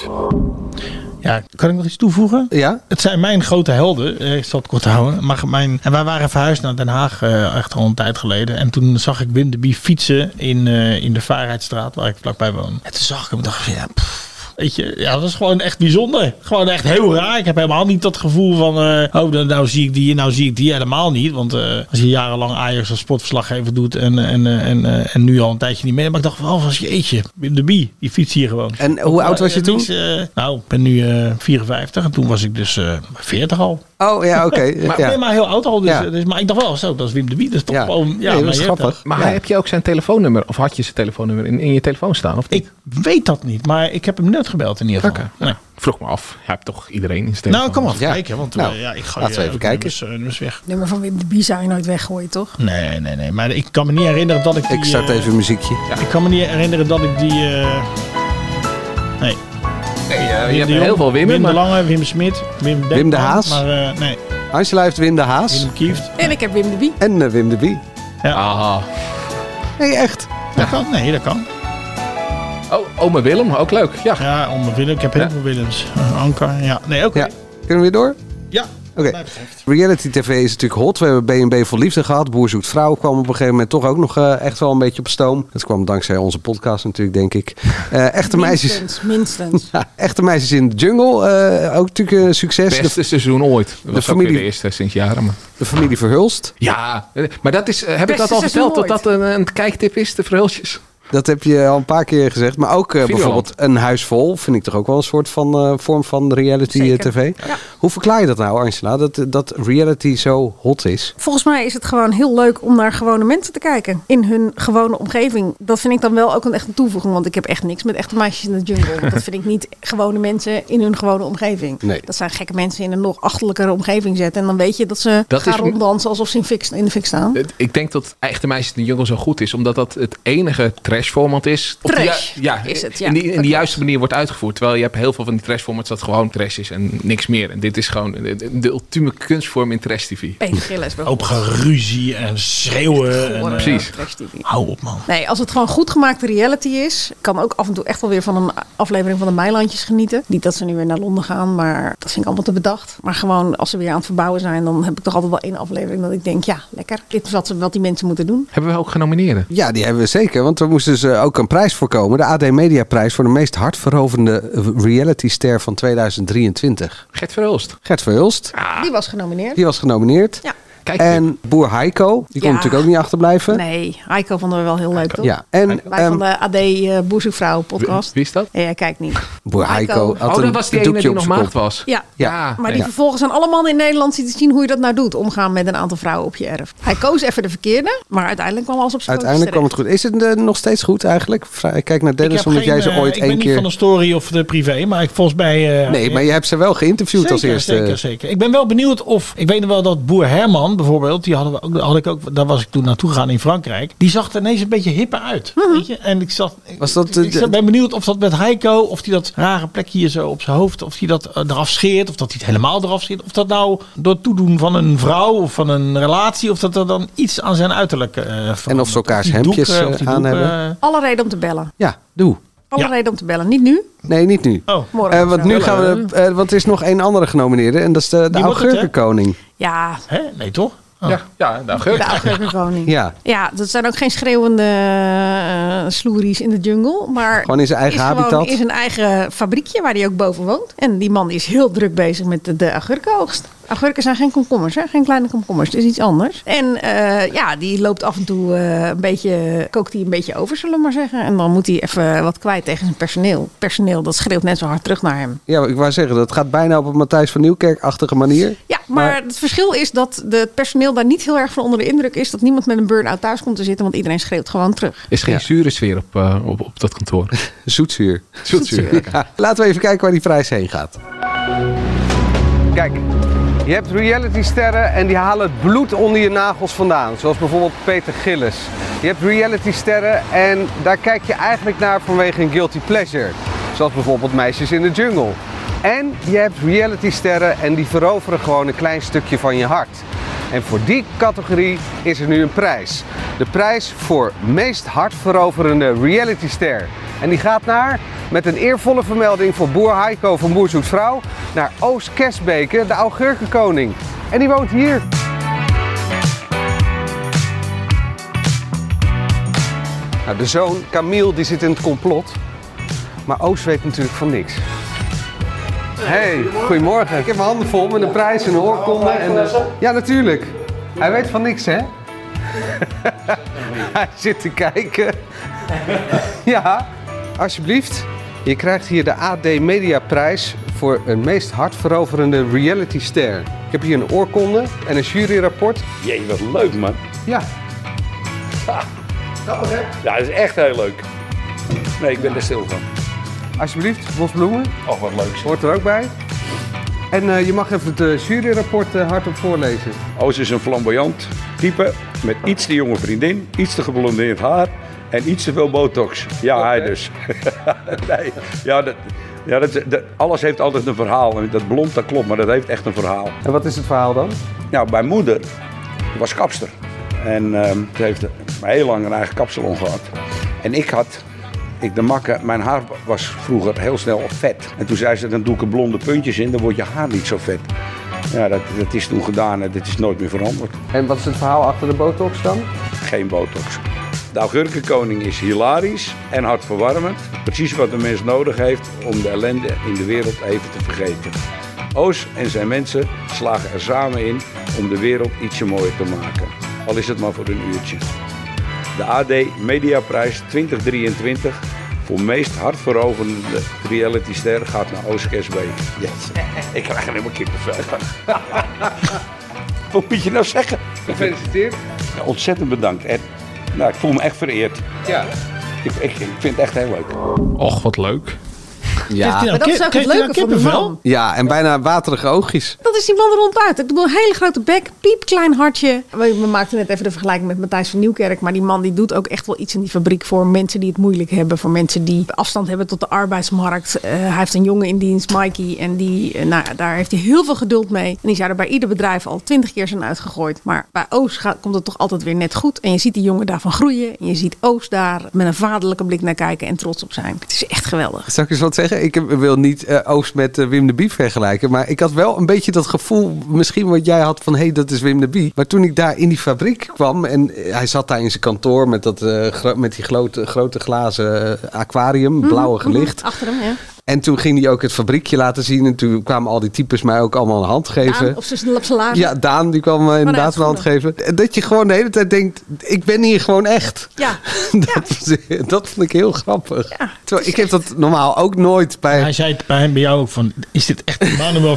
Ja, kan ik nog iets toevoegen?
Ja.
Het zijn mijn grote helden. Eh, Ik zal het kort houden. Maar mijn, en wij waren verhuisd naar Den Haag eh, echt al een tijd geleden. En toen zag ik Wim de Bie fietsen in, eh, in de Vaarheidstraat, waar ik vlakbij woon. En toen zag ik hem en dacht ik, ja, pff, weet je, ja, dat is gewoon echt bijzonder. Gewoon echt heel raar. Ik heb helemaal niet dat gevoel van, eh, oh, dan- nou zie ik die, nou zie ik die helemaal niet. Want eh, als je jarenlang Ajax als sportverslaggever doet en, en, eh, en, eh, en nu al een tijdje niet meer. Maar ik dacht wel van, jeetje, Wim de Bie, die fietst hier gewoon.
En hoe oud was je toen?
nou, ik ben nu eh, 54 en toen was ik dus eh 40 al.
Oh, ja, oké.
maar,
Ja.
nee, maar heel oud al. Dus,
Ja.
dus, maar ik dacht wel, zo, dat is Wim de Bie. Dat is toch
Ja.
gewoon...
Nee, dat
maar
is
je
grappig.
hebt dat.
Maar heb je ook zijn telefoonnummer, of had je zijn telefoonnummer in, in je telefoon staan? Of niet?
Weet dat niet, maar ik heb hem net gebeld in ieder geval.
Oké.
Nee.
Vroeg me af, je hebt toch iedereen in zijn
Nou,
telefoon?
kom maar even
Ja.
kijken, want
Nou,
eh, ja, ik ga
laten we even kijken.
Nummers, eh, nummers weg.
Het nummer van Wim de Bie zou je nooit weggooien, toch?
Nee, nee, nee. Maar ik kan me niet herinneren dat ik die...
Ik start
eh,
even een muziekje.
Ik kan me niet herinneren dat ik die... eh, nee.
Nee, eh, je
Wim
hebt
de Jong,
heel veel Wim.
Wim de
maar-
Lange, Wim Smit, Wim,
Wim de
Dekman,
Haas?
Maar eh, nee.
Angela heeft Wim de Haas.
Wim Kieft.
En ik heb Wim de Bie.
En eh, Wim de Bie.
Ja.
Nee, echt.
Dat kan. Nee, dat kan.
Oh, oma Willem, ook leuk. Ja,
ja oma Willem. Ik heb heel veel Willems. Eh, Anker, ja. Nee, oké.
Kunnen we weer door?
Ja.
Oké. Reality TV is natuurlijk hot. We hebben BNB voor Liefde gehad. Boer zoekt vrouw kwam op een gegeven moment toch ook nog eh, echt wel een beetje op stoom. Dat kwam dankzij onze podcast natuurlijk, denk ik. Eh, echte meisjes.
Minstens, minstens.
Ja, echte meisjes in de jungle. eh, ook natuurlijk een succes. De-
Beste seizoen ooit. Dat was ook
familie-
weer de eerste sinds jaren. Maar.
De familie Verhulst.
Ja, eh, maar dat is, eh, heb ik
Beste
dat al
seizoen
verteld? Dat dat een, een kijktip is, de verhulsjes?
Dat heb je al een paar keer gezegd. Maar ook eh,
Videoland.
bijvoorbeeld een huis vol vind ik toch ook wel een soort van eh, vorm van reality eh,
Zeker.
tv.
Ja.
Hoe verklaar je dat nou, Angela? Dat, dat reality zo hot is?
Volgens mij is het gewoon heel leuk om naar gewone mensen te kijken. In hun gewone omgeving. Dat vind ik dan wel ook een echt een toevoeging. Want ik heb echt niks met echte meisjes in de jungle. Want dat vind ik niet gewone mensen in hun gewone omgeving.
Nee.
Dat zijn gekke mensen in een nog achterlijkere omgeving zetten. En dan weet je dat ze
Dat
gaan
is-
ronddansen alsof ze in, fik- in de fik staan.
Het- Ik denk dat Echte Meisjes in de Jungle zo goed is, omdat dat het enige trash-format is. Op de
Trash
ju- ja,
is het, ja.
In die, in
Dat
de juiste manier wordt uitgevoerd. Terwijl je hebt heel veel van die trash-formats dat gewoon trash is en niks meer. En dit is gewoon de, de- de ultieme kunstvorm in trash-tv.
Peter Gillis
Ook geruzie en schreeuwen. En, eh,
Precies.
Hou op, man.
Nee, als het gewoon goed gemaakte reality is, kan ook af en toe echt wel weer van een aflevering van de Meilandjes genieten. Niet dat ze nu weer naar Londen gaan, maar dat vind ik allemaal te bedacht. Maar gewoon als ze weer aan het verbouwen zijn, dan heb ik toch altijd wel één aflevering dat ik denk, ja, lekker. Dit is wat, ze, wat die mensen moeten doen.
Hebben we ook genomineerd?
Ja, die hebben we zeker. Want er moest dus eh, ook een prijs voor komen. De AD Media Prijs voor de meest hartverrovende realityster van 2023.
Gert Verhulst. Ah.
Gert Verhulst.
Die was genomineerd.
Die was genomineerd.
Ja.
Kijk, en boer Heiko. Die kon
Ja.
natuurlijk ook niet achterblijven.
Nee, Heiko vonden we wel heel leuk, toch?
Ja, en,
Wij
ehm,
van de AD eh Boezemvrouw podcast.
Wie is dat?
Ja, kijk niet.
Boer Heiko had
Oh, dat
een
was die ene
doekje
die
op
nog
zijn
maagd
kop.
was.
Ja.
Ja.
maar die
Ah, Ja.
vervolgens aan alle mannen in Nederland zitten zien hoe je dat nou doet. Omgaan met een aantal vrouwen op je erf. Hij koos even de verkeerde, maar uiteindelijk kwam alles op zijn
Uiteindelijk kwam het goed. Is het eh, nog steeds goed eigenlijk? Vra- Ik kijk naar Dennis,
heb
omdat
geen,
jij ze
eh,
ooit
ik ben
één
niet
keer...
van de story of de privé, maar ik volgens mij... eh,
Nee, maar je hebt ze wel geïnterviewd
zeker,
als eerste.
Zeker, zeker. Ik ben wel benieuwd of... Ik weet nog wel dat boer Herman bijvoorbeeld, die hadden we ook, had ik ook, daar was ik toen naartoe gegaan in Frankrijk. Die zag er ineens een beetje hipper uit. Weet je? En ik zat...
Mhm. Was dat, eh,
Ik zat- ben benieuwd of dat met Heiko, of hij dat rare plekje hier zo op zijn hoofd, of hij dat eh, eraf scheert, of dat hij het helemaal eraf scheert. Of dat nou door het toedoen van een vrouw of van een relatie, of dat er dan iets aan zijn uiterlijk eh verandert.
en of ze elkaars
Die
hempjes
doeken,
eh,
of die
aan
doeken,
hebben.
Alle reden om te bellen.
Ja, doe.
Alle
Ja.
reden om te bellen. Niet nu.
Nee, niet nu.
Morgen
Eh,
of
want
zo.
nu gaan we... eh, want er is nog één andere genomineerde. En dat is de, de
Die wordt het, hè?
augurkenkoning.
Ja,
Hè? Nee, toch? Oh.
Ja, ja, nou,
de augurkenkoning.
Ja.
Ja, dat zijn ook geen schreeuwende eh, sloeries in de jungle. Maar
Gewoon in zijn eigen
is gewoon
habitat.
in zijn eigen fabriekje waar hij ook boven woont. En die man is heel druk bezig met de, de augurkenoogst. Augurken zijn geen komkommers, hè? geen kleine komkommers. Het is iets anders. En eh, ja, die loopt af en toe eh, een beetje, kookt hij een beetje over, zullen we maar zeggen. En dan moet hij even wat kwijt tegen zijn personeel. Personeel, dat schreeuwt net zo hard terug naar hem.
Ja, ik wou zeggen, dat gaat bijna op een Matthijs van Nieuwkerk-achtige manier.
Ja, maar, het verschil is dat het personeel daar niet heel erg van onder de indruk is dat niemand met een burn-out thuis komt te zitten, want iedereen schreeuwt gewoon terug.
Is geen zure sfeer op, eh, op, op dat kantoor.
Zoetzuur.
Zoetzuur.
Ja, Laten we even kijken waar die prijs heen gaat. Kijk, je hebt realitysterren en die halen het bloed onder je nagels vandaan. Zoals bijvoorbeeld Peter Gillis. Je hebt realitysterren en daar kijk je eigenlijk naar vanwege een guilty pleasure. Zoals bijvoorbeeld Meisjes in de Jungle. En je hebt realitysterren en die veroveren gewoon een klein stukje van je hart. En voor die categorie is er nu een prijs. De prijs voor meest hartveroverende realityster. En die gaat naar, met een eervolle vermelding voor boer Heiko van Boer Zoekt Vrouw, naar Oost Kesbeke, de augurkenkoning. En die woont hier. Nou, de zoon Camille die zit in het complot. Maar Oost weet natuurlijk van niks. Hey, goedemorgen. Ik heb mijn handen vol met een prijs en een oorkonde. En, eh, ja, natuurlijk. Hij weet van niks, hè? Hij zit te kijken. ja, alsjeblieft. Je krijgt hier de AD Media Prijs voor een meest hartveroverende realityster. Ik heb hier een oorkonde en een juryrapport.
Jee, wat leuk man.
Ja.
Grappig hè? Ja, dat is echt heel leuk. Nee, ik ben er stil van.
Alsjeblieft, bosbloemen.
Och, Oh, wat leuk.
Hoort er ook bij. En eh, je mag even het eh, juryrapport eh, hardop voorlezen.
Oos Oh, is een flamboyant type met iets te jonge vriendin, iets te geblondeerd haar en iets te veel botox. Ja, hij dus. nee, ja, dat, ja dat, dat- alles heeft altijd een verhaal. En Dat blond, dat klopt, maar dat heeft echt een verhaal.
En wat is het verhaal dan?
Nou, mijn moeder was kapster. En ehm, ze heeft heel lang een eigen kapsalon gehad. En ik had, ik de makke, mijn haar was vroeger heel snel vet. En toen zei ze, dan doe ik er blonde puntjes in, dan wordt je haar niet zo vet. Ja, dat, dat is toen gedaan en dat is nooit meer veranderd.
En wat is het verhaal achter de botox dan?
Geen botox. De augurkenkoning is hilarisch en hartverwarmend. Precies wat de mens nodig heeft om de ellende in de wereld even te vergeten. Oos en zijn mensen slagen er samen in om de wereld ietsje mooier te maken. Al is het maar voor een uurtje. De AD Mediaprijs 2023 voor meest hartveroverende realityster gaat naar Oost Kersbeek. Yes. Ik krijg er helemaal kippenvel van. Wat moet je nou zeggen?
Gefeliciteerd.
Ja, ontzettend bedankt, Ed. Nou, ik voel me echt vereerd.
Ja.
Ik, ik, ik vind het echt heel leuk.
Och, wat leuk.
Ja. Maar dat is ook het leuke van die man.
Ja, en bijna waterige oogjes.
Dat is die man ronduit. Ik bedoel, een hele grote bek, piepklein hartje. We, we maakten net even de vergelijking met Matthijs van Nieuwkerk. Maar die man die doet ook echt wel iets in die fabriek voor mensen die het moeilijk hebben. Voor mensen die afstand hebben tot de arbeidsmarkt. Eh, hij heeft een jongen in dienst, Mikey. En die, eh, nou, ja, daar heeft hij heel veel geduld mee. En die zou er bij ieder bedrijf al twintig keer zijn uitgegooid. Maar bij Oos gaat, komt het toch altijd weer net goed. En je ziet die jongen daarvan groeien. En je ziet Oos daar met een vaderlijke blik naar kijken en trots op zijn. Het is echt geweldig.
Zal ik eens wat zeggen? Ik heb- wil niet eh, Oost met eh, Wim de Bie vergelijken. Maar ik had wel een beetje dat gevoel, misschien wat jij had van... hé, hey, dat is Wim de Bie. Maar toen ik daar in die fabriek kwam... en eh, hij zat daar in zijn kantoor met, dat, eh, gro- met die grote, grote glazen eh, aquarium, blauwe
Mhm, mhm.
gelicht.
Achter hem, ja.
En toen ging hij ook het fabriekje laten zien. En toen kwamen al die types mij ook allemaal een hand geven.
Daan, of ze op zijn laarzen.
Ja, Daan
Oh,
die kwam eh, inderdaad een hand geven. Dat je gewoon de hele tijd denkt, ik ben hier gewoon echt.
Ja.
dat, dat vond ik heel grappig. Terwijl, ik heb dat normaal ook nooit bij...
Hij zei het bij, hem, bij jou ook van, is dit echt Manuel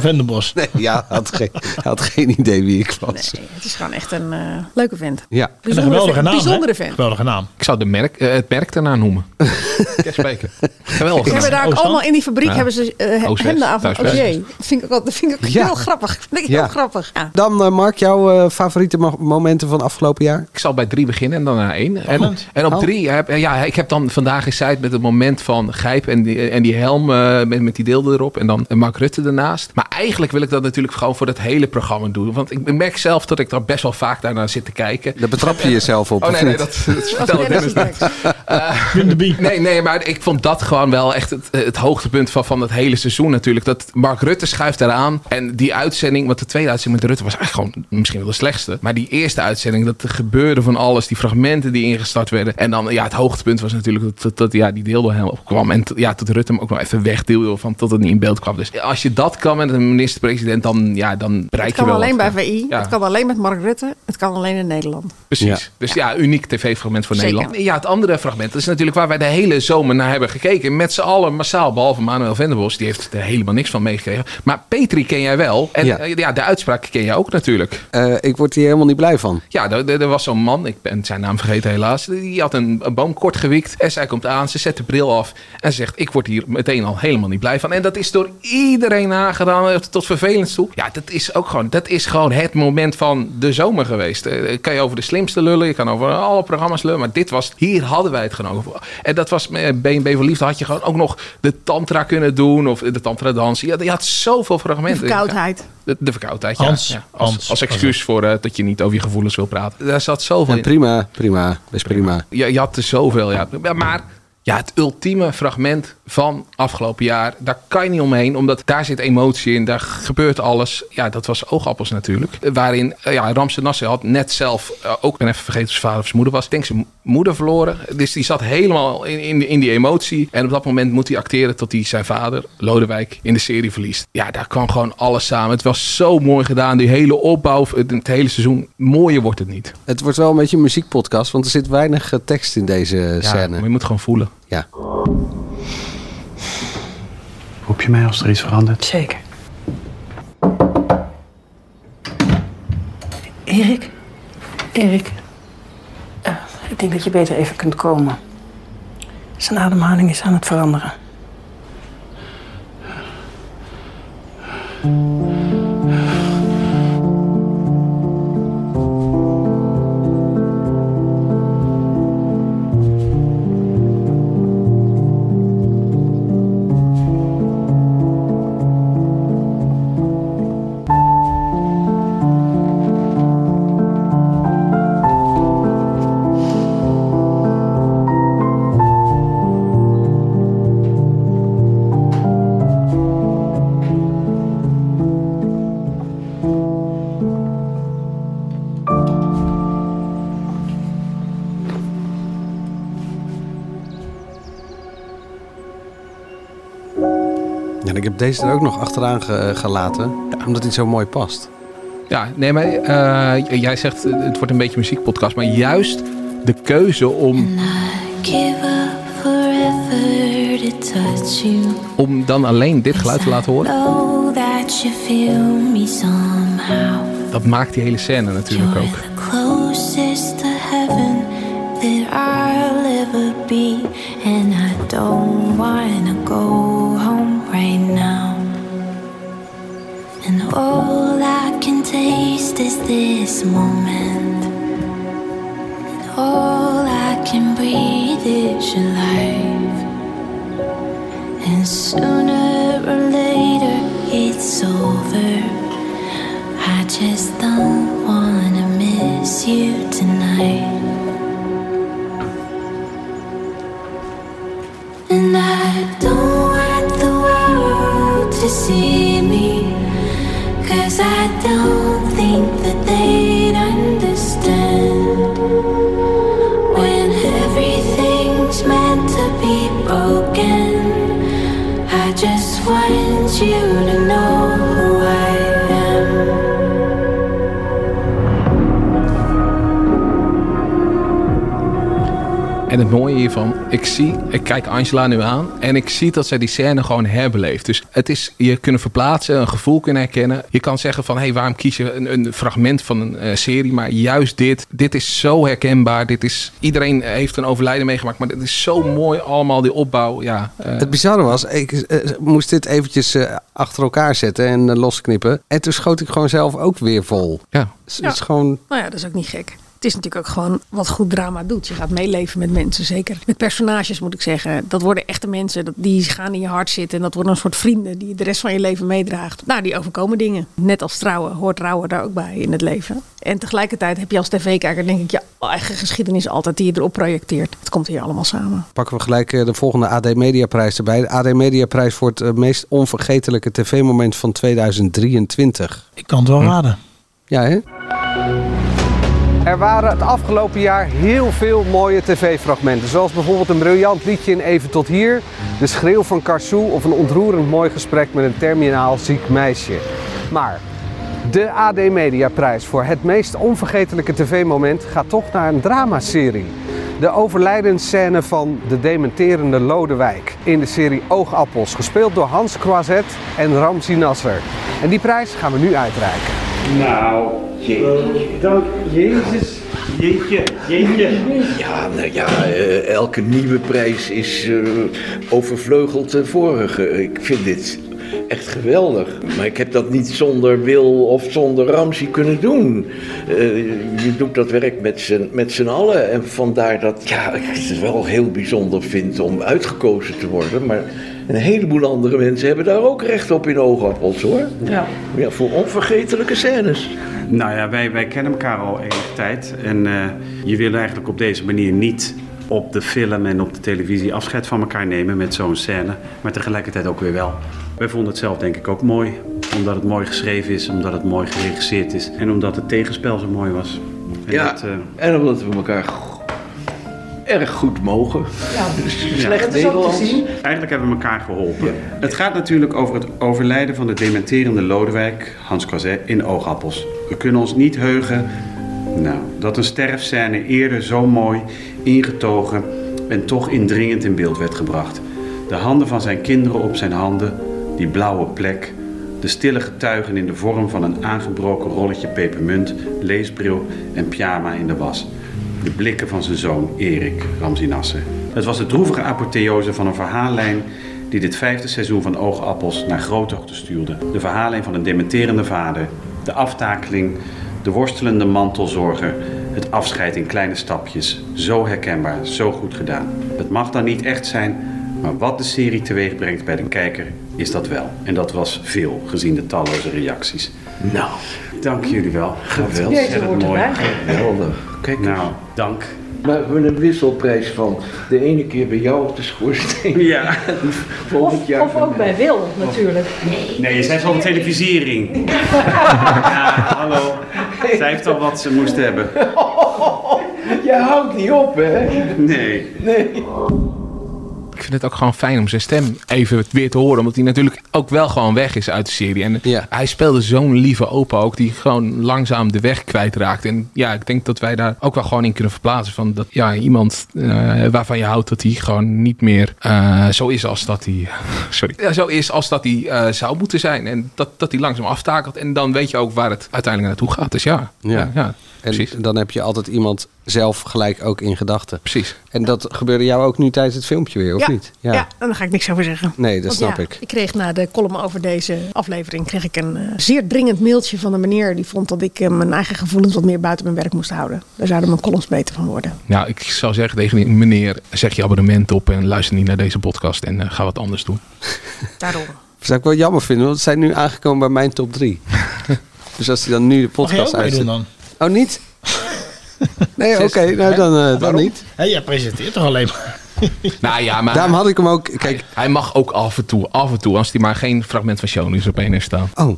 Venderbos?
Nee, ja, hij had geen, hij had geen idee wie ik was.
Het is gewoon echt een eh, leuke vent.
Ja.
Bijzondere een geweldige vent. naam, hè? Bijzondere vent.
Geweldige naam.
Ik zou de merk, eh, het merk daarna noemen. Kersbeke. Geweldig.
Ze hebben daar ook allemaal in die fabriek
Oh, Ja. Oh,
hebben ze eh,
Oostwest,
hemden aan van
Thuiswest.
Ogier. Dat vind ik ook, dat vind ik ook
Ja.
heel grappig. Dat vind ik
Ja.
heel grappig. Ja.
Dan eh, Mark, jouw eh, favoriete mo- momenten van afgelopen jaar?
Ik zal bij drie beginnen en dan naar één. En,
Spannend.
en op
Oh.
drie, eh, heb, ja, ik heb dan vandaag gezegd met het moment van Gijp en die, en die helm eh, met, met die deel erop. En dan Mark Rutte ernaast. Maar eigenlijk wil ik dat natuurlijk gewoon voor het hele programma doen. Want ik merk zelf dat ik daar best wel vaak daarnaar zit te kijken.
Daar betrap je jezelf op.
Oh
of
nee, nee
niet?
dat, dat vertelde Dennis net. Nee, nee, maar ik vond dat gewoon wel echt het, het hoogtepunt van, van het hele seizoen natuurlijk. Dat Mark Rutte schuift eraan. En die uitzending, want de tweede uitzending met Rutte was eigenlijk gewoon misschien wel de slechtste. Maar die eerste uitzending, dat er gebeurde van alles. Die fragmenten die ingestart werden. En dan, ja, het hoogtepunt was natuurlijk dat, dat, dat, ja, die deel door hem opkwam. En t- ja, dat Rutte hem ook wel even wegdeelde van tot het niet in beeld kwam. Dus als je dat kan met een minister-president, dan, ja, dan bereik
Het
je
kan
wel
alleen
wat.
bij VI,
Ja.
het kan alleen met Mark Rutte, het kan alleen in Nederland.
Precies. Dus ja, uniek tv-fragment voor
Zeker.
Nederland. Ja, het andere fragment dat is natuurlijk waar wij de hele zomer naar hebben gekeken. Met z'n allen massaal, behalve Manuel Venderbos. Die heeft er helemaal niks van meegekregen. Maar Petri ken jij wel. En
Ja.
ja, ja de uitspraak ken jij ook natuurlijk.
Eh, ik word hier helemaal niet blij van.
Ja, er, er- er was zo'n man, ik ben zijn naam vergeten helaas. Die had een, een boom kort gewiekt. En zij komt aan, ze zet de bril af. En ze zegt, ik word hier meteen al helemaal niet blij van. En dat is door iedereen nagedaan, eh, tot vervelend toe. Ja, dat is ook gewoon, dat is gewoon het moment van de zomer geweest. Eh, Kan je over de slimste lullen, je kan over alle programma's lullen. Maar dit was, hier hadden wij het gewoon over. En dat was, eh, BNB voor Liefde had je gewoon ook nog de tantra kunnen doen. Of de tantra dansen. Je had, je had zoveel
De
fragmenten.
verkoudheid.
De, de verkoudheid, ja.
Hans,
Ja, Als, als excuus voor eh, dat je niet over je gevoelens wil praten. Daar zat zoveel
Ja,
in.
prima, prima. Best prima.
Je, je had er zoveel, ja. Ja, Maar ja, het ultieme fragment van afgelopen jaar, daar kan je niet omheen. Omdat daar zit emotie in, daar gebeurt alles. Ja, dat was oogappels natuurlijk. Eh, Waarin eh, ja, Ramse Nasser had net zelf, eh, ook ik ben even vergeten of zijn vader of zijn moeder was. Ik denk zijn moeder verloren. Dus die zat helemaal in, in, in die emotie. En op dat moment moet hij acteren tot hij zijn vader, Lodewijk, in de serie verliest. Ja, daar kwam gewoon alles samen. Het was zo mooi gedaan. Die hele opbouw, het, het hele seizoen. Mooier wordt het niet.
Het wordt wel een beetje een muziekpodcast, want er zit weinig eh, tekst in deze scène. maar
je moet gewoon voelen.
Ja.
Roep je mij als er iets verandert?
Zeker. Erik? Erik. Eh, ik denk dat je beter even kunt komen. Zijn ademhaling is aan het veranderen.
Ja, en ik heb deze er ook nog achteraan ge- gelaten, omdat hij zo mooi past.
Ja, nee, maar eh, jij zegt eh, het wordt een beetje een muziekpodcast. Maar juist de keuze om,
Give up forever to touch you.
om dan alleen dit geluid te laten horen.
Know that you feel me somehow.
Dat maakt die hele scène natuurlijk ook.
Closest to heaven that I'll ever be. And I don't wanna go home right now. And all I can taste is this moment. And all I can breathe is your life. And sooner or later it's over. I just don't wanna miss you tonight. And I don't want the world to see me. Cause I don't think that they'd understand. When everything's meant to be broken, I just want you to know who I am.
En het mooie hiervan, ik zie, ik kijk Angela nu aan en ik zie dat zij die scène gewoon herbeleeft. Dus het is je kunnen verplaatsen, een gevoel kunnen herkennen. Je kan zeggen van, hé, hey, waarom kies je een, een fragment van een eh, serie? Maar juist dit, dit is zo herkenbaar. Dit is, iedereen heeft een overlijden meegemaakt, maar dit is zo mooi allemaal, die opbouw. Ja, eh,
Het bizarre was, ik eh, moest dit eventjes eh, achter elkaar zetten en eh, losknippen. En toen schoot ik gewoon zelf ook weer vol.
Ja.
Het
Ja.
is gewoon...
Nou ja, dat is ook niet gek. Het is natuurlijk ook gewoon wat goed drama doet. Je gaat meeleven met mensen, zeker met personages moet ik zeggen. Dat worden echte mensen, dat, die gaan in je hart zitten. En dat worden een soort vrienden die je de rest van je leven meedraagt. Nou, die overkomen dingen. Net als trouwen, hoort trouwen daar ook bij in het leven. En tegelijkertijd heb je als tv-kijker denk ik je eigen geschiedenis altijd die je erop projecteert. Het komt hier allemaal samen.
Pakken we gelijk eh, de volgende AD Mediaprijs erbij. De AD Mediaprijs voor het eh, meest onvergetelijke tv-moment van 2023.
Ik kan het
Hm.
wel raden.
Ja, hè? Er waren het afgelopen jaar heel veel mooie tv-fragmenten. Zoals bijvoorbeeld een briljant liedje in Even tot hier, de schreeuw van Karsou of een ontroerend mooi gesprek met een terminaal ziek meisje. Maar de AD Mediaprijs voor het meest onvergetelijke tv-moment gaat toch naar een dramaserie. De overlijdensscène van de dementerende Lodewijk in de serie Oogappels, gespeeld door Hans Croiset en Ramzi Nasser. En die prijs gaan we nu uitreiken.
Nou, jeetje. Dank Jezus. Jeetje, jeetje. Ja, nou ja, eh, elke nieuwe prijs is eh, overvleugeld de vorige. Ik vind dit echt geweldig. Maar ik heb dat niet zonder Wil of zonder Ramsey kunnen doen. Eh, je doet dat werk met z'n- met z'n allen. En vandaar dat ja, ik het wel heel bijzonder vind om uitgekozen te worden. Maar een heleboel andere mensen hebben daar ook recht op in oogappels hoor.
Ja.
Ja, voor onvergetelijke scènes.
Nou ja, wij, wij kennen elkaar al enige tijd. En eh, je wil eigenlijk op deze manier niet op de film en op de televisie afscheid van elkaar nemen met zo'n scène. Maar tegelijkertijd ook weer wel. Wij vonden het zelf denk ik ook mooi. Omdat het mooi geschreven is, omdat het mooi geregisseerd is. En omdat het tegenspel zo mooi was. En
Ja,
dat, eh,
en omdat we elkaar go- erg goed mogen. Dus Slecht Nederlands.
Eigenlijk hebben we elkaar geholpen. Het gaat natuurlijk over het overlijden van de dementerende Lodewijk, Hans Croiset, in Oogappels. We kunnen ons niet heugen nou, dat een sterfscène eerder zo mooi, ingetogen en toch indringend in beeld werd gebracht. De handen van zijn kinderen op zijn handen, die blauwe plek, de stille getuigen in de vorm van een aangebroken rolletje pepermunt, leesbril en pyjama in de was. De blikken van zijn zoon Erik Ramzi Nasser. Het was de droevige apotheose van een verhaallijn die dit vijfde seizoen van Oogappels naar grote hoogte stuurde. De verhaallijn van een dementerende vader, de aftakeling, de worstelende mantelzorger, het afscheid in kleine stapjes. Zo herkenbaar, zo goed gedaan. Het mag dan niet echt zijn, maar wat de serie teweeg brengt bij de kijker is dat wel. En dat was veel, gezien de talloze reacties. Nou, dank jullie wel.
Geweldig. Jeetje, hoort erbij. Geweldig. Kijk
Nou, dank.
Maar we hebben een wisselprijs van de ene keer bij jou op de schoorsteen.
Ja.
Volgend jaar.
Of ook bij Wil, natuurlijk.
Nee, je zei zo'n televisiering. ja, hallo. Zij heeft al wat ze moest hebben.
Je houdt niet op, hè?
Nee.
Nee.
vind het ook gewoon fijn om zijn stem even weer te horen. Omdat hij natuurlijk ook wel gewoon weg is uit de serie. En hij speelde zo'n lieve opa ook. Die gewoon langzaam de weg kwijtraakt. En ja, ik denk dat wij daar ook wel gewoon in kunnen verplaatsen. Van dat ja, iemand eh, waarvan je houdt dat hij gewoon niet meer eh, zo is als dat hij. Sorry. Ja, zo is als dat hij eh, zou moeten zijn. En dat, dat hij langzaam aftakelt. En dan weet je ook waar het uiteindelijk naartoe gaat. Dus ja.
Ja. en dan heb je altijd iemand zelf gelijk ook in gedachten.
Precies.
En dat gebeurde jou ook nu tijdens het filmpje weer, of
ja,
niet?
Ja. en daar ga ik niks over zeggen.
Nee, dat
Want
snap
ja,
ik.
Ik kreeg na de column over deze aflevering kreeg ik een eh, zeer dringend mailtje van een meneer. Die vond dat ik eh, mijn eigen gevoelens wat meer buiten mijn werk moest houden. Daar zouden mijn columns beter van worden.
Nou, ik zou zeggen tegen die meneer, zeg je abonnement op en luister niet naar deze podcast en eh, ga wat anders doen.
Daarom.
Zou ik wel jammer vinden, want ze zijn nu aangekomen bij mijn top 3. dus als hij dan nu de
Mag jij ook
podcast
meedoen
uitzet.
dan?
Oh, niet? Nee, oké, nou
Hè?
dan, eh, dan
Waarom?
niet.
Hé, jij presenteert toch alleen maar?
Nou ja, maar...
Daarom had ik hem ook... Kijk,
hij, hij mag ook af en toe, af en toe, als hij maar geen fragment van show nieuws op één heeft staan.
Oh.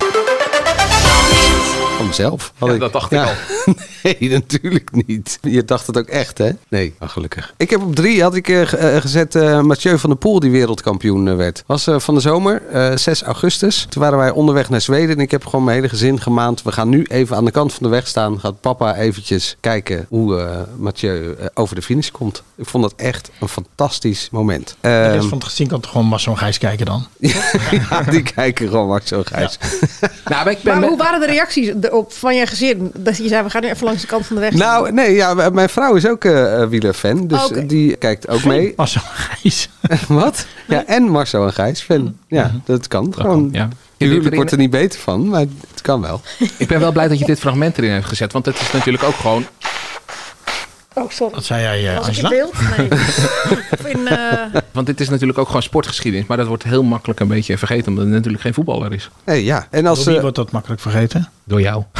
Van mezelf. Had ik. dat dacht ik al. nee, natuurlijk niet. Je dacht het ook echt, hè? Nee, oh, gelukkig. Ik heb op drie had ik, eh, ge- eh, gezet eh, Mathieu van der Poel, die wereldkampioen eh, werd. Was eh, van de zomer, eh, 6 augustus. Toen waren wij onderweg naar Zweden en ik heb gewoon mijn hele gezin gemaand. We gaan nu even aan de kant van de weg staan. Gaat papa eventjes kijken hoe eh, Mathieu eh, over de finish komt. Ik vond dat echt een fantastisch moment.
de
Ehm,
rest van het gezin kan toch gewoon maar zo'n gijs kijken dan?
ja, die kijken gewoon Max zo grijs.
Nou, ik
Maar hoe waren de reacties erop van je gezin? Dat je zei, we gaan nu even langs de kant van de weg. staan.
Nou, nee, ja, w- mijn vrouw is ook eh eh, wielerfan.
Oh,
Dus
Oké.
eh, die kijkt ook mee. Marcel en Gijs. Wat? Ja, en Marcel en Gijs fan. Ja, dat kan gewoon.
ja.
Je
dit
huwelijk
erin-
wordt er niet beter van, maar het kan wel.
Ik ben wel blij dat je dit fragment erin hebt gezet, want het is natuurlijk ook gewoon...
Oh, sorry.
Wat zei jij, eh,
Was ik in beeld? Nee. Of in, eh,
Want dit is natuurlijk ook gewoon sportgeschiedenis, maar dat wordt heel makkelijk een beetje vergeten, omdat het natuurlijk geen voetballer is.
Nee, ja. En eh, Nou,
Door wie wordt dat makkelijk vergeten?
Door jou.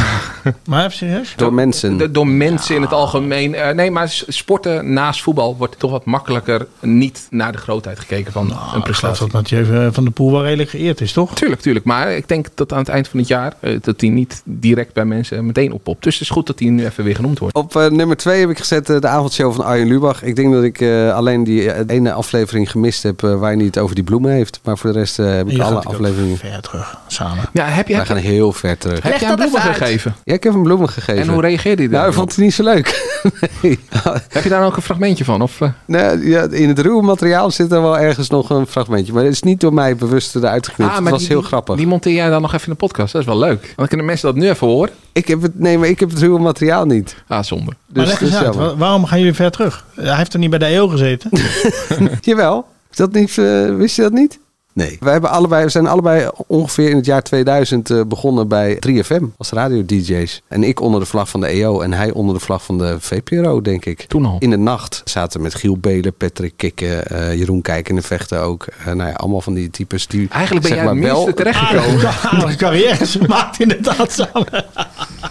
Maar even serieus?
Door mensen. Ah.
Door, door mensen in het algemeen. Eh, nee, maar s- sporten naast voetbal wordt toch wat makkelijker niet naar de grootheid gekeken van een
Ik geloof
prestatie.
dat Mathieu van der Poel Ah. wel redelijk geëerd is, toch?
Tuurlijk, tuurlijk. Maar ik denk dat aan het eind van het jaar eh, dat hij niet direct bij mensen meteen oppopt. Dus het is goed dat hij nu even weer genoemd wordt.
Op eh, nummer twee heb ik gezet eh, de avondshow van Arjen Lubach. Ik denk dat ik eh, alleen die eh, ene aflevering gemist heb eh, waar hij niet over die bloemen heeft. Maar voor de rest eh, heb ik
Hier gaat
alle
ik ook
afleveringen.
ver terug, samen.
Ja, heb je,
Wij gaan heel ver terug.
Heb Leg jij hem dat even bloemen uit. gegeven?
Ja, ik heb hem bloemen gegeven.
En hoe reageerde hij daar
Nou, hij
dan
vond het niet zo leuk. nee.
Heb je daar ook een fragmentje van? Of, eh?
Nee, ja, in het ruwe materiaal zit er wel ergens nog een fragmentje. Maar het is niet door mij bewust eruit geknipt. het was
Ah, die,
heel
die-
grappig.
Die monteer jij dan nog even in de podcast. Dat is wel leuk. Want dan kunnen mensen dat nu even horen.
Ik heb het, nee, maar ik heb het ruwe materiaal niet.
Ah, zonde.
Dus
maar leg eens uit, wa- waarom gaan jullie ver terug? Hij heeft er niet bij de eeuw gezeten.
Jawel. Is dat niet, eh, wist je dat niet? Nee. Wij hebben allebei, we zijn allebei ongeveer in het jaar 2000 eh, begonnen bij 3FM als radio-dj's. En ik onder de vlag van de EO en hij onder de vlag van de VPRO, denk ik.
Toen al.
In de nacht zaten we met Giel Belen, Patrick Kikken, eh, Jeroen Kijken en Vechten ook. Eh, nou ja, allemaal van die types die
Eigenlijk ben
zeg
jij het
maar, wel-
minste terechtgekomen.
Aardige carrière gemaakt inderdaad samen.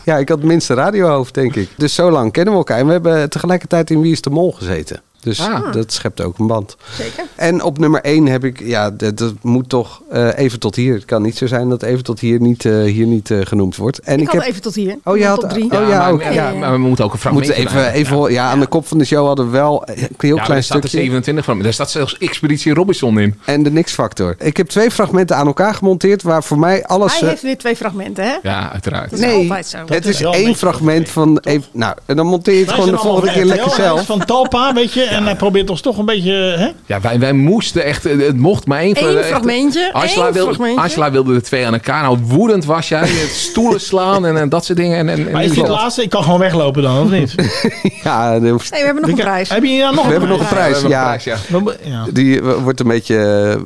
Ja, ik had het minste radiohoofd, denk ik. Dus zo lang kennen we elkaar. En we hebben tegelijkertijd in Wie is de Mol gezeten. Dus
Ah.
dat schept ook een band. Zeker. En op nummer 1 heb ik, ja, dat, dat moet toch eh, even tot hier. Het kan niet zo zijn dat even tot hier niet, eh, hier niet eh, genoemd wordt. En ik,
ik had
heb.
even tot hier.
Oh, je
ja,
had-
top drie.
oh, ja, Ja, maar- ook. ja,
Ja, maar we moeten ook een
We moeten
fragmentje
even,
erbij.
even ja. ja, aan de kop van de show hadden we wel een heel
Ja, maar
klein
daar staat er
stukje.
27 van. Daar staat zelfs Expeditie Robinson in.
En de niks-factor. Ik heb twee fragmenten aan elkaar gemonteerd waar voor mij alles.
Hij
eh,
heeft weer twee fragmenten, hè?
Ja, uiteraard.
Dat is altijd zo.
het is één fragment van. even- nou, en dan monteer je het
Wij
gewoon de
zijn
volgende
allemaal
keer lekker
RTL, hij
zelf.
is Van Talpa, Ah, weet je. En hij probeert ons toch een beetje... Eh, Hè?
Ja, wij, wij moesten echt... eh, Het mocht maar één...
Eén
echt-
fragmentje,
Angela
één
wilde,
fragmentje.
Angela wilde de twee aan elkaar. Nou, woedend was jij. Je Stoelen slaan en, en dat soort dingen. En, en,
Maar is dit de laatste? Ik kan gewoon weglopen dan, of niet?
ja, dan hoeft-
Nee, we hebben nog een
Ik-
prijs.
Heb je hier nou nog
we
een
hebben nog een prijs.
Ja, we
Ja,
hebben een prijs, ja.
Die eh, wordt een beetje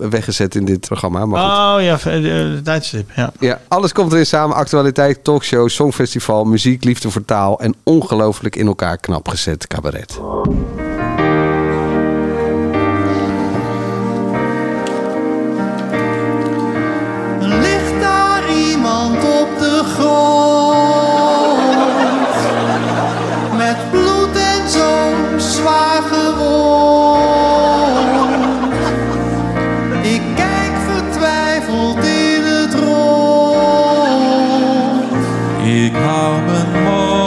eh, weggezet in dit programma. Maar goed.
Oh ja, eh, de tijdstip. Ja.
Ja, alles komt erin samen. Actualiteit, talkshow, songfestival, muziek, liefde voor taal... en ongelooflijk in elkaar knap gezet cabaret.
Ligt daar iemand op de grond? Met bloed en zo zwaar gewond. Ik kijk vertwijfeld in het rond. Ik hou mijn mond.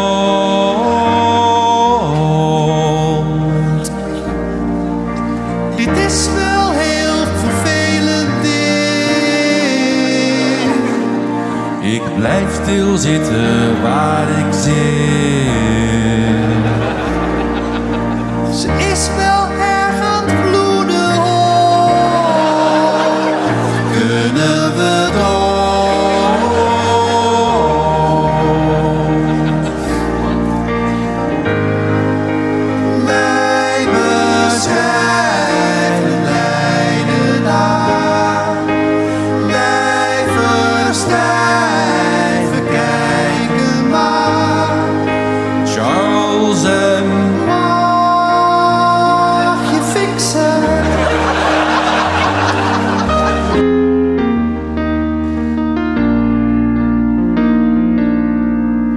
dansen. Mag je fixen?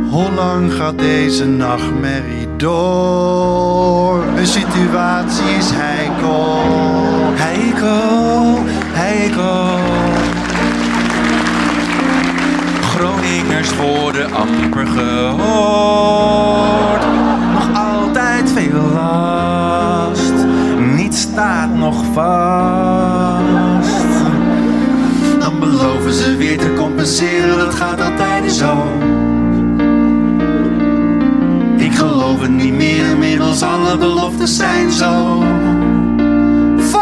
Hoe lang gaat deze nachtmerrie door? De situatie is heikel. Heikel, heikel. Groningers worden amper gehoord. Nog altijd veel last. Niets staat nog vast. Dan beloven ze weer te compenseren. Dat gaat altijd zo. Ik geloof het niet meer, inmiddels alle beloftes zijn zo. Vals.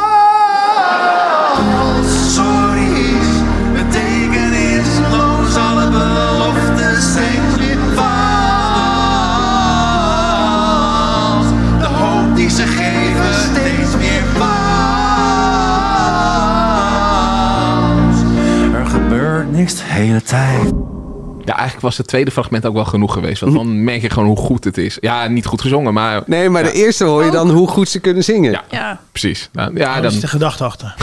Sorry, het teken is loos, alle beloftes zijn weer vals. De hoop die ze geven, steeds meer vals. Er gebeurt niks de hele tijd.
Ja, eigenlijk was het tweede fragment ook wel genoeg geweest. Want dan merk je gewoon hoe goed het is. Ja, niet goed gezongen, maar...
Nee, maar de eerste hoor je dan hoe goed ze kunnen zingen. Ja,
Ja.
precies. Nou, ja,
Dat
dan...
is de gedachte achter.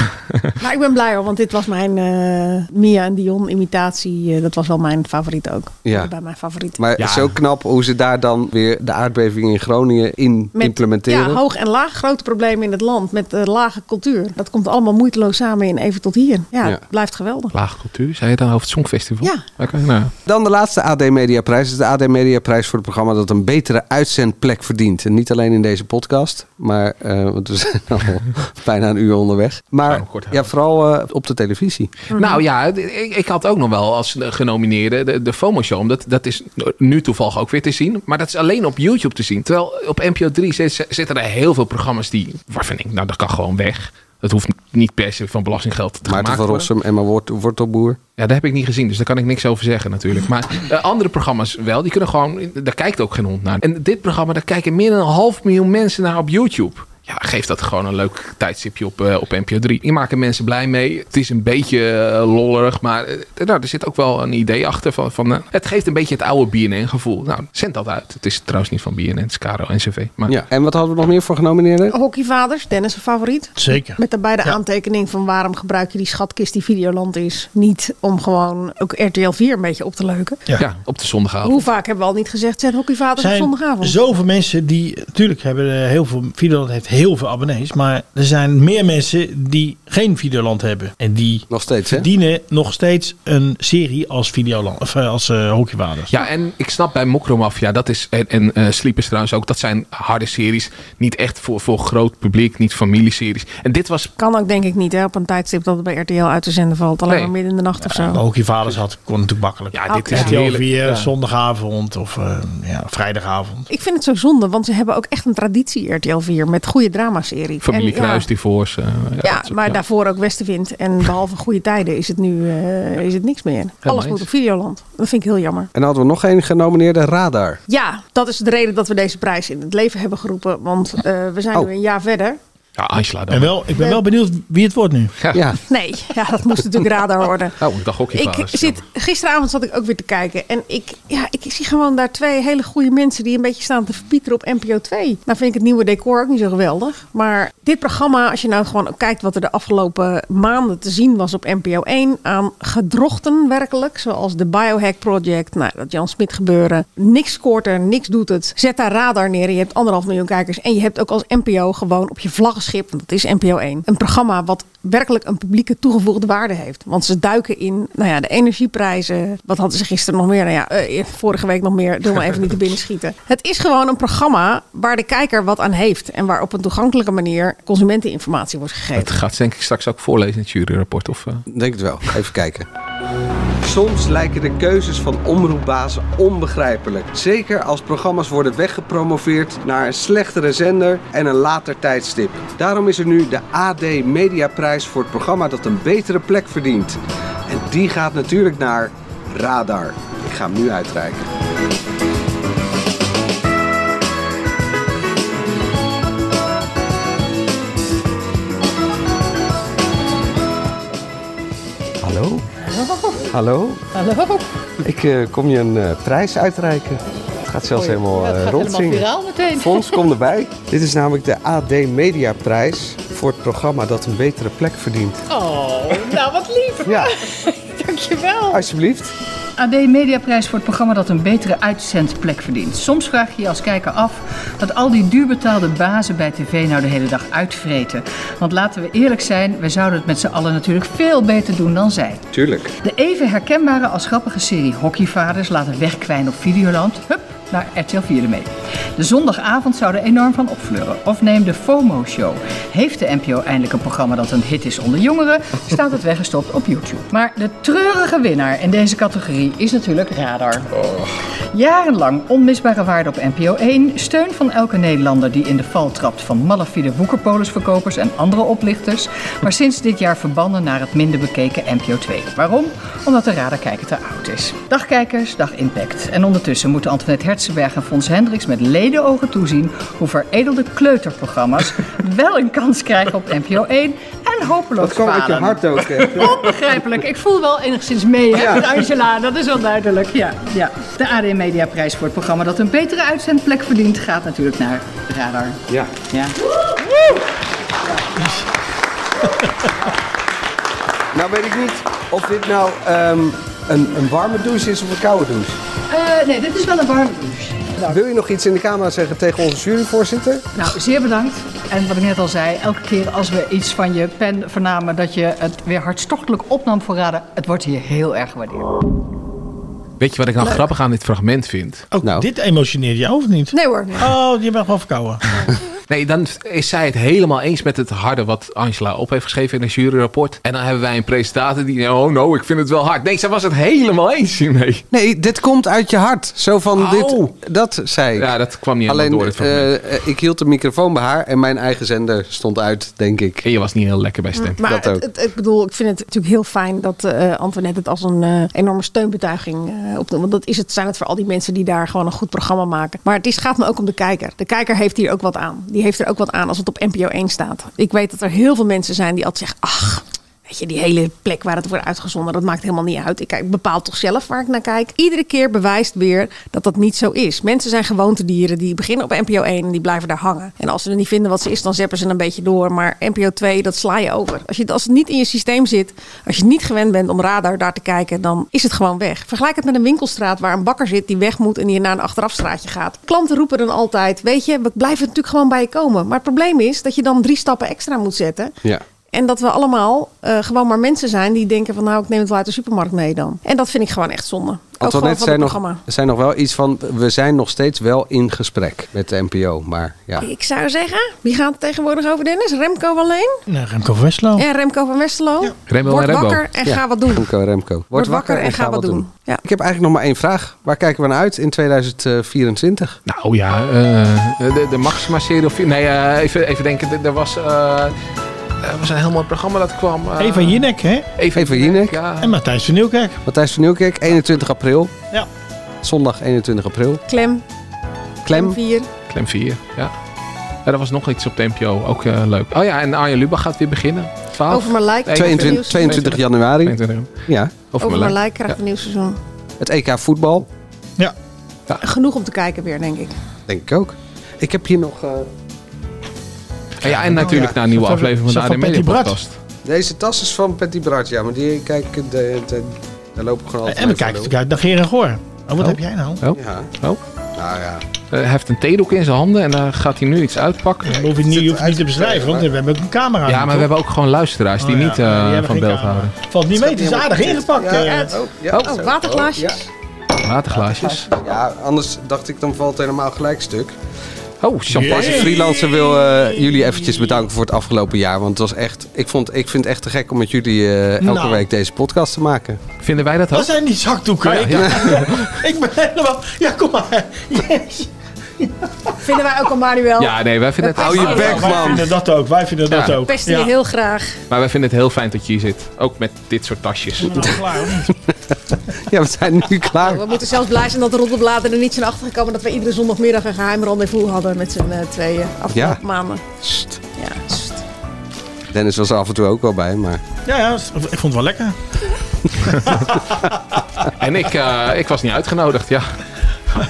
Maar ik ben blij hoor, want dit was mijn eh, Mia en Dion imitatie. eh, dat was wel mijn favoriet ook.
Ja.
Bij mijn favoriet.
Maar het is ook knap hoe ze daar dan weer de aardbeving in Groningen in
Met,
implementeren.
Ja, hoog en laag. Grote problemen in het land met eh, lage cultuur. Dat komt allemaal moeiteloos samen in Even tot hier. Ja,
Ja.
het blijft geweldig.
Laag cultuur, zei je dan over het Songfestival? Ja. Oké, nou...
Dan de laatste AD Mediaprijs. Het is de AD Mediaprijs voor het programma dat een betere uitzendplek verdient. En niet alleen in deze podcast, maar eh, want we zijn al bijna een uur onderweg. Maar ja, vooral eh, op de televisie.
Nou ja, d- ik, ik had ook nog wel als eh, genomineerde de, de FOMO Show. Omdat dat is nu toevallig ook weer te zien. Maar dat is alleen op YouTube te zien. Terwijl op NPO 3 zit- zitten er heel veel programma's die... waarvan ik, nou dat kan gewoon weg. Dat hoeft niet per se van belastinggeld te
Maarten
maken
van Rossum, Emma Wort- Wortelboer.
Ja, dat heb ik niet gezien, dus daar kan ik niks over zeggen natuurlijk. Maar eh, andere programma's wel, die kunnen gewoon... daar kijkt ook geen hond naar. En dit programma, daar kijken meer dan een half miljoen mensen naar op YouTube. Ja, geef dat gewoon een leuk tijdstipje op, eh, op NPO 3. Je maakt er mensen blij mee. Het is een beetje eh, lollerig, maar eh, nou, er zit ook wel een idee achter. Van, van, eh, het geeft een beetje het oude BNN-gevoel. Nou, zend dat uit. Het is trouwens niet van BNN, het is Caro NCV. Maar...
Ja. En wat hadden we nog meer voor genomineerden?
Hockeyvaders, Dennis een favoriet.
Zeker.
Met daarbij de aantekening van waarom gebruik je die schatkist die Videoland is. Niet om gewoon ook RTL 4 een beetje op te leuken.
Ja. op de zondagavond.
Hoe vaak hebben we al niet gezegd zijn hockeyvaders
Er
op
zijn
zondagavond?
zoveel mensen die... Natuurlijk hebben eh, heel veel... Videoland heeft heel veel abonnees. Maar er zijn meer mensen die geen Videoland hebben. En die
nog steeds,
verdienen nog steeds een serie als Videoland. Of eh, als eh hockeywaders.
Ja, en ik snap bij Mokromafia, dat is. En, en eh, Sleepers trouwens ook, dat zijn harde series. Niet echt voor, voor groot publiek, niet familieseries. En dit was.
Kan ook denk ik niet hè, op een tijdstip dat het bij RTL uit te zenden valt. Alleen
Nee.
maar midden in de nacht of zo.
Maar hockeyvaders had, kon natuurlijk makkelijk.
Ja,
dit is
RTL
heerlijk.
4,
Ja.
zondagavond of eh, ja, vrijdagavond.
Ik vind het zo zonde, want ze hebben ook echt een traditie RTL 4 met goede dramaserie.
Familie
En ja,
Kruis, die voor ze. eh,
Ja, maar daarvoor ook Westenwind. En behalve goede tijden is het nu eh, is het niks meer. Alles
eens.
moet op Videoland. Dat vind ik heel jammer.
En dan hadden we nog één genomineerde, Radar.
Ja, dat is de reden dat we deze prijs in het leven hebben geroepen. Want eh, we zijn nu een jaar verder.
Ja, Angela dan.
En wel, ik ben wel benieuwd wie het wordt nu.
Ja.
Nee, ja, dat moest natuurlijk radar worden.
Oh, ik dacht ook
Ik zit, gisteravond zat ik ook weer te kijken. En ik, ja, ik zie gewoon daar twee hele goede mensen die een beetje staan te verpieteren op NPO 2. Nou vind ik het nieuwe decor ook niet zo geweldig. Maar dit programma, als je nou gewoon kijkt wat er de afgelopen maanden te zien was op NPO 1. Aan gedrochten werkelijk, zoals de Biohack Project. Nou, dat Jan Smit gebeuren. Niks scoort er, niks doet het. Zet daar radar neer. Je hebt anderhalf miljoen kijkers. En je hebt ook als NPO gewoon op je vlaggenschip, want dat is NPO 1. Een programma wat werkelijk een publieke toegevoegde waarde heeft. Want ze duiken in nou ja, de energieprijzen. Wat hadden ze gisteren nog meer? Nou ja, eh, vorige week nog meer. Doe maar even niet te binnen schieten. Het is gewoon een programma waar de kijker wat aan heeft. En waar op een toegankelijke manier consumenteninformatie wordt gegeven.
Het gaat denk ik straks ook voorlezen in het juryrapport. Of, eh?
Denk het wel. Even kijken. Soms lijken de keuzes van omroepbazen onbegrijpelijk. Zeker als programma's worden weggepromoveerd naar een slechtere zender en een later tijdstip. Daarom is er nu de AD Mediaprijs voor het programma dat een betere plek verdient. En die gaat natuurlijk naar Radar. Ik ga hem nu uitreiken. Hallo? Hallo?
Hallo.
Ik eh, kom je een eh, prijs uitreiken. gaat zelfs helemaal
Ja, het
eh,
gaat
rondzingen.
helemaal viraal meteen.
Fons, kom erbij. Dit is namelijk de AD Media Prijs voor het programma dat een betere plek verdient.
Oh, nou wat lief.
Ja.
Dankjewel.
Alsjeblieft.
AD Mediaprijs voor het programma dat een betere uitzendplek verdient. Soms vraag je je als kijker af wat al die duurbetaalde bazen bij tv nou de hele dag uitvreten. Want laten we eerlijk zijn, wij zouden het met z'n allen natuurlijk veel beter doen dan zij.
Tuurlijk.
De even herkenbare als grappige serie Hockeyvaders laten wegkwijnen op Videoland. Hup, naar RTL 4 ermee. De zondagavond zou er enorm van opfleuren. Of neem de FOMO-show. Heeft de NPO eindelijk een programma dat een hit is onder jongeren, staat het weggestopt op YouTube. Maar de treurige winnaar in deze categorie is natuurlijk Radar. Jarenlang onmisbare waarde op NPO 1, steun van elke Nederlander die in de val trapt van malafide boekenpolisverkopers en andere oplichters, maar sinds dit jaar verbannen naar het minder bekeken NPO 2. Waarom? Omdat de radarkijker te oud is. Dag kijkers, dag impact. En ondertussen moeten Antoinette Hertzenberg en Fons Hendricks met ledenogen toezien hoe veredelde kleuterprogramma's wel een kans krijgen op NPO 1 en hopeloos
Dat kwam uit je
falen.
hart ook, hè?
Onbegrijpelijk. Ik voel wel enigszins mee hè,
Ja.
met Angela, dat is wel duidelijk. Ja, ja. De AD Media Prijs voor het programma dat een betere uitzendplek verdient gaat natuurlijk naar Radar.
Ja.
Ja.
Nou weet ik niet of dit nou ehm, een, een warme douche is of een koude douche.
Eh, nee, dit is wel een warme douche.
Wil je nog iets in de camera zeggen tegen onze juryvoorzitter?
Nou, zeer bedankt. En wat ik net al zei, elke keer als we iets van je pen vernamen dat je het weer hartstochtelijk opnam voor Radar, het wordt hier heel erg gewaardeerd.
Weet je wat ik nou
Leuk.
grappig aan dit fragment vind?
Ook
Nou.
dit emotioneert jou of niet?
Nee hoor.
Oh, je bent wel verkouden.
Nee, dan is zij het helemaal eens met het harde wat Angela op heeft geschreven in een juryrapport. En dan hebben wij een presentator die, oh no, ik vind het wel hard. Nee, zij was het helemaal eens hiermee.
Nee, dit komt uit je hart. Zo van dit, dat zei ik.
Ja, dat kwam niet helemaal
Alleen
door. Het fragment.
eh, eh, ik hield de microfoon bij haar en mijn eigen zender stond uit, denk ik.
je was niet heel lekker bij
Mm, Maar
dat ook.
het, het- ik bedoel, ik vind het natuurlijk heel fijn dat eh Antoinette het als een eh, enorme steunbetuiging eh opnoemt. Want dat is het, zijn het voor al die mensen die daar gewoon een goed programma maken. Maar het is, gaat me ook om de kijker. De kijker heeft hier ook wat aan. Die heeft er ook wat aan als het op NPO 1 staat. Ik weet dat er heel veel mensen zijn die altijd zeggen, ach... Weet je, die hele plek waar het wordt uitgezonden, dat maakt helemaal niet uit. Ik kijk, bepaal toch zelf waar ik naar kijk. Iedere keer bewijst weer dat dat niet zo is. Mensen zijn gewoontedieren die beginnen op NPO 1 en die blijven daar hangen. En als ze er niet vinden wat ze is, dan zeppen ze een beetje door. Maar NPO 2, dat sla je over. Als, je, als het niet in je systeem zit, als je niet gewend bent om radar daar te kijken, dan is het gewoon weg. Vergelijk het met een winkelstraat waar een bakker zit die weg moet en die naar een achterafstraatje gaat. Klanten roepen dan altijd, weet je, we blijven natuurlijk gewoon bij je komen. Maar het probleem is dat je dan drie stappen extra moet zetten.
Ja.
En dat we allemaal eh, gewoon maar mensen zijn die denken van nou, ik neem het wel uit de supermarkt mee dan. En dat vind ik gewoon echt zonde. Ook gewoon
Antoinette
van het
zei nog,
programma.
zei nog wel iets van, we zijn nog steeds wel in gesprek met de NPO. Maar ja,
Ik zou zeggen, wie gaat het tegenwoordig over Dennis? Remco alleen?
Nee, Remco Westlo.
En Remco van Westerlo?
Rembo
Word
en Rembo.
wakker en
Ja.
ga wat doen.
Remco, Remco. Word,
wakker en ga wat doen.
Ik heb eigenlijk nog maar één vraag. Waar kijken we naar uit in 2024?
Nou ja, eh, de, de Maxima-serie of... Nee, eh, even, even denken. Er- Er was, eh, er was een heel mooi programma dat kwam. eh,
Ah. Eva Jinek, hè?
Eva,
Jinek.
En Matthijs van Nieuwkerk.
Matthijs van Nieuwkerk, 21 april.
Ja.
Zondag 21 april.
Klem.
Klem.
4.
Klem 4, ja. Ja, er was nog iets op de NPO, ook eh, leuk. Oh ja, en Arjen Lubach gaat weer beginnen. 12?
Over mijn lijk.
22, 22 januari. Ja.
Over mijn lijk krijgt een nieuw seizoen.
Het EK voetbal,
Genoeg om te kijken weer, denk ik.
denk ik ook. Ik heb hier nog... eh,
Ja, en natuurlijk
Oh, ja.
naar een nieuwe
Zo van-
aflevering
zo
van de AD
van
Media
Patty Bart.
Podcast.
Deze tas is van Patty Bart, ja. Maar die kijk, de, de- daar lopen we gewoon altijd
Eh, En we
mee
kijken
voor
natuurlijk uit naar Geer en Goor. Oh, wat heb jij nou?
Oh.
Ja. Nou ja.
Eh, hij heeft een theedoek in zijn handen en dan gaat hij nu iets uitpakken.
Dat hoef je niet, je hoeft het niet te beschrijven, want we hebben ook een camera.
Ja, maar we hebben ook gewoon luisteraars die
Oh ja,
niet eh,
die
van
hebben geen
beeld
camera.
houden.
Valt niet mee, het is
Helemaal
aardig
goed.
ingepakt.
Ja,
eh.
ja. Oh, ja. Oh, waterglaasjes.
Waterglaasjes.
de- Ja, anders dacht ik dan valt het helemaal gelijk stuk.
Oh, champagne.
Champagne Freelancer wil eh, jullie eventjes bedanken voor het afgelopen jaar. Want het was echt, ik, vond, ik vind het echt te gek om met jullie eh, elke
Nou.
week deze podcast te maken.
Vinden wij dat
Wat zijn die zakdoeken?
Oh ja,
ik, ik ben helemaal... Ja, kom maar. Yes.
Vinden wij ook al Manuel.
Ja, nee, wij vinden het...
Wij vinden dat ook, wij vinden dat
Ja.
ook.
Pesten je
Ja.
heel graag.
Maar wij vinden het heel fijn dat je hier zit. Ook met dit soort tasjes.
ja, we zijn nu klaar.
Nou, We moeten zelfs blij zijn dat de roddelbladen er niet zijn achtergekomen dat we iedere zondagmiddag een geheim rendezvous hadden met z'n eh, tweeën afgelopen
Ja.
maanden. Ja,
Dennis was er af en toe ook wel bij, maar...
Ja, ja, ik vond het wel lekker.
En ik, eh, ik was niet uitgenodigd, ja.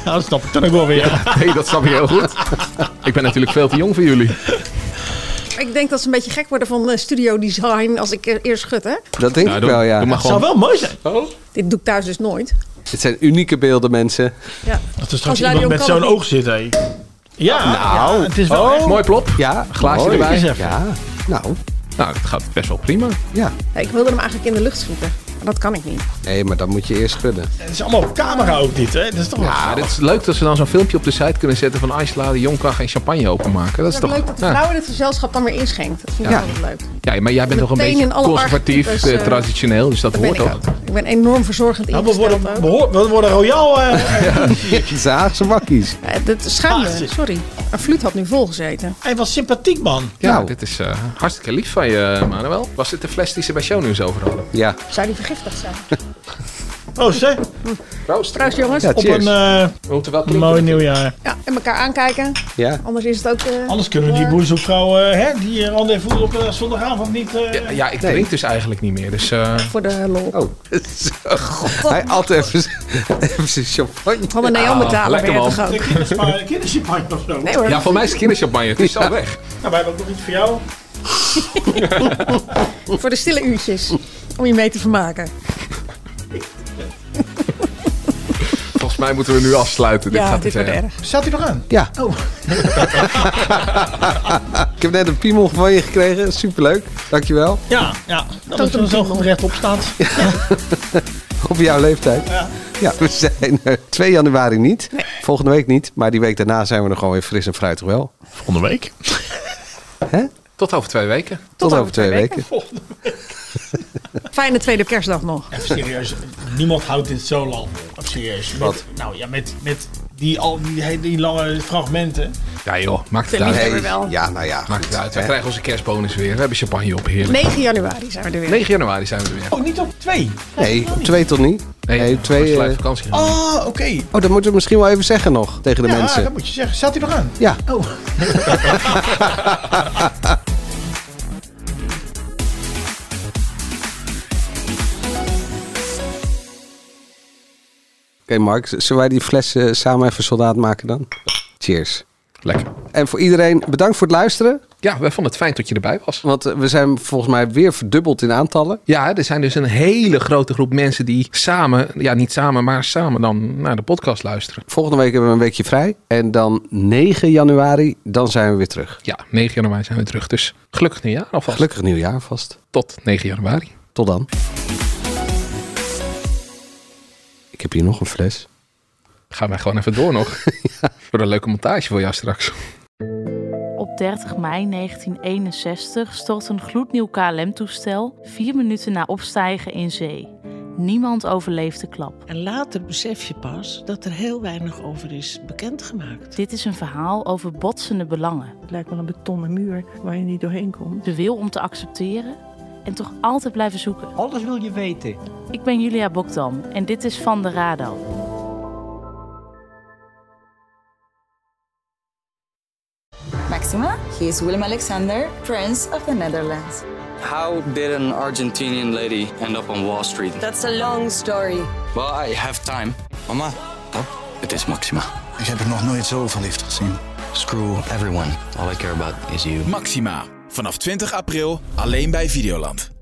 dat Oh, snap ik dan ook wel weer.
Nee, dat snap ik heel goed. Ik ben natuurlijk veel te jong voor jullie.
Ik denk dat ze een beetje gek worden van eh, studio design als ik e- eerst schud, hè?
Dat denk
Ja,
ik
doe-
wel, ja.
doe maar gewoon. Zou wel
mooi zijn.
Dit doe ik thuis dus nooit.
Het zijn unieke beelden, mensen.
Ja.
Dat
Als iemand radio met kan zo'n het niet. oog
zit, hé. Ja,
nou,
het is wel echt-
Mooi plop.
Ja,
glaasje
mooi.
erbij.
Eens even. Ja, nou.
Nou, dat gaat best wel prima.
Ja.
Ja, Ik wilde hem eigenlijk in de lucht schieten. Maar dat kan ik niet.
Nee, maar dan moet je eerst schudden.
Het is allemaal op camera ook dit, hè? Dat is toch wel
Ja,
grappig.
het is leuk dat ze dan zo'n filmpje op de site kunnen zetten van Aisla, de jong kan geen champagne openmaken. Dat is
Het is
toch...
leuk dat de
ja.
vrouw in het gezelschap dan weer inschenkt. Dat vind ik
Ja.
altijd leuk.
Ja, maar jij bent toch een
Meteen
beetje
in alle
conservatief,
archetypes,
eh,
eh,
traditioneel, dus dat,
dat ben
hoort
ik
toch?
Ik ben enorm verzorgend
Nou, we
ingesteld
worden,
ook.
behoor- we worden royaal. eh,
Zaagse makkies.
Eh, dat is schaamte, sorry. Een fluit had nu volgezeten.
Ah, Hij was sympathiek, man.
Ja,
Nou.
dit is eh, hartstikke lief van je, Manuel. Was dit de fles die ze bij shownieuws over hadden?
Ja.
Zou die vergiftigd zijn?
Proost, hè?
Proost.
Proost, jongens.
Op een eh, mooi nieuwjaar.
Ja, en elkaar aankijken.
Ja.
Anders is het ook... eh,
Anders kunnen we die boerzoekvrouw, eh, hè, die eh, rendezvous op eh, zondagavond niet... eh,
Ja, ik
Nee.
drink dus eigenlijk niet meer, dus... eh,
Voor de lol.
Oh, Hij at even, z- even zijn champagne.
Van een
Ah,
Neandertaler ben je toch ook.
Kinderspa- Kinderschampagne of zo.
Nee hoor.
Ja, voor mij is het kinderchampagne, het is
Ja.
al weg.
Nou, wij hebben ook nog iets voor jou.
Voor de stille uurtjes. Om je mee te vermaken.
Volgens mij moeten we nu afsluiten, dit
ja,
gaat eh,
dit
te
wordt
ver.
erg.
Staat hij nog aan?
Ja.
Oh.
Ik heb net een piemel van je gekregen. Superleuk. Dankjewel.
Ja, ja. Dat
Totem
het er zo goed rechtop staat.
Op jouw leeftijd.
Ja.
Ja, we zijn er 2 januari niet. Volgende week niet. Maar die week daarna zijn we er gewoon weer fris en fruitig wel.
Volgende week.
Tot over twee weken.
Tot, over twee, weken.
Fijne tweede kerstdag nog.
Even serieus, niemand houdt dit zo lang. vol. Even serieus. Met-
Wat?
Nou ja, met, met die, al die, die lange fragmenten.
Ja joh, maakt het
De
uit.
liefhebber wel. Nee,
Ja, nou ja.
Maakt het uit. We
hè.
krijgen onze kerstbonus weer. We hebben champagne op, heerlijk.
9 januari zijn we er weer.
9 januari zijn we er weer.
Oh, niet op twee?
Nee, op twee tot niet. Nee, twee.
blijft
eh,
vakantie
Oh, oké.
Oh, dat moeten we misschien wel even zeggen nog tegen de
Ja, dat
mensen.
moet je zeggen. Staat hij nog aan?
Ja.
Oh.
Oh. Oké, Mark, z- zullen wij die fles eh, samen even soldaat maken dan? Cheers.
Lekker.
En voor iedereen, bedankt voor het luisteren.
Ja, wij Ah, vonden het fijn dat je erbij was.
Want eh, we zijn volgens mij weer verdubbeld in aantallen.
Ja, er zijn dus een hele grote groep mensen die samen, ja niet samen, maar samen dan naar de podcast luisteren.
Volgende week hebben we een weekje vrij. En dan 9 januari, dan zijn we weer terug.
Ja, 9 januari zijn we terug. Dus gelukkig nieuwjaar alvast.
Gelukkig nieuwjaar vast.
Tot 9 januari.
Tot dan. Ik heb hier nog een fles.
Gaan wij gewoon even door nog. Voor een leuke montage voor jou straks.
Op 30 mei 1961 stort een gloednieuw KLM-toestel vier minuten na opstijgen in zee. Niemand overleeft de klap.
En later besef je pas dat er heel weinig over is bekendgemaakt.
Dit is een verhaal over botsende belangen. Het lijkt wel een betonnen muur waar je niet doorheen komt. De wil om te accepteren en toch altijd blijven zoeken. Alles wil je weten. Ik ben Julia Bokdam en dit is Van de Rado.
Maxima, he is Willem Alexander, Prince of the Netherlands.
How did an Argentinian lady end up on Wall Street?
That's a long story.
Well, I have time. Mama, pap, het is Maxima. Ik heb er nog nooit zo verliefd gezien. Screw everyone. All I care about is you.
Maxima. Vanaf 20 april alleen bij Videoland.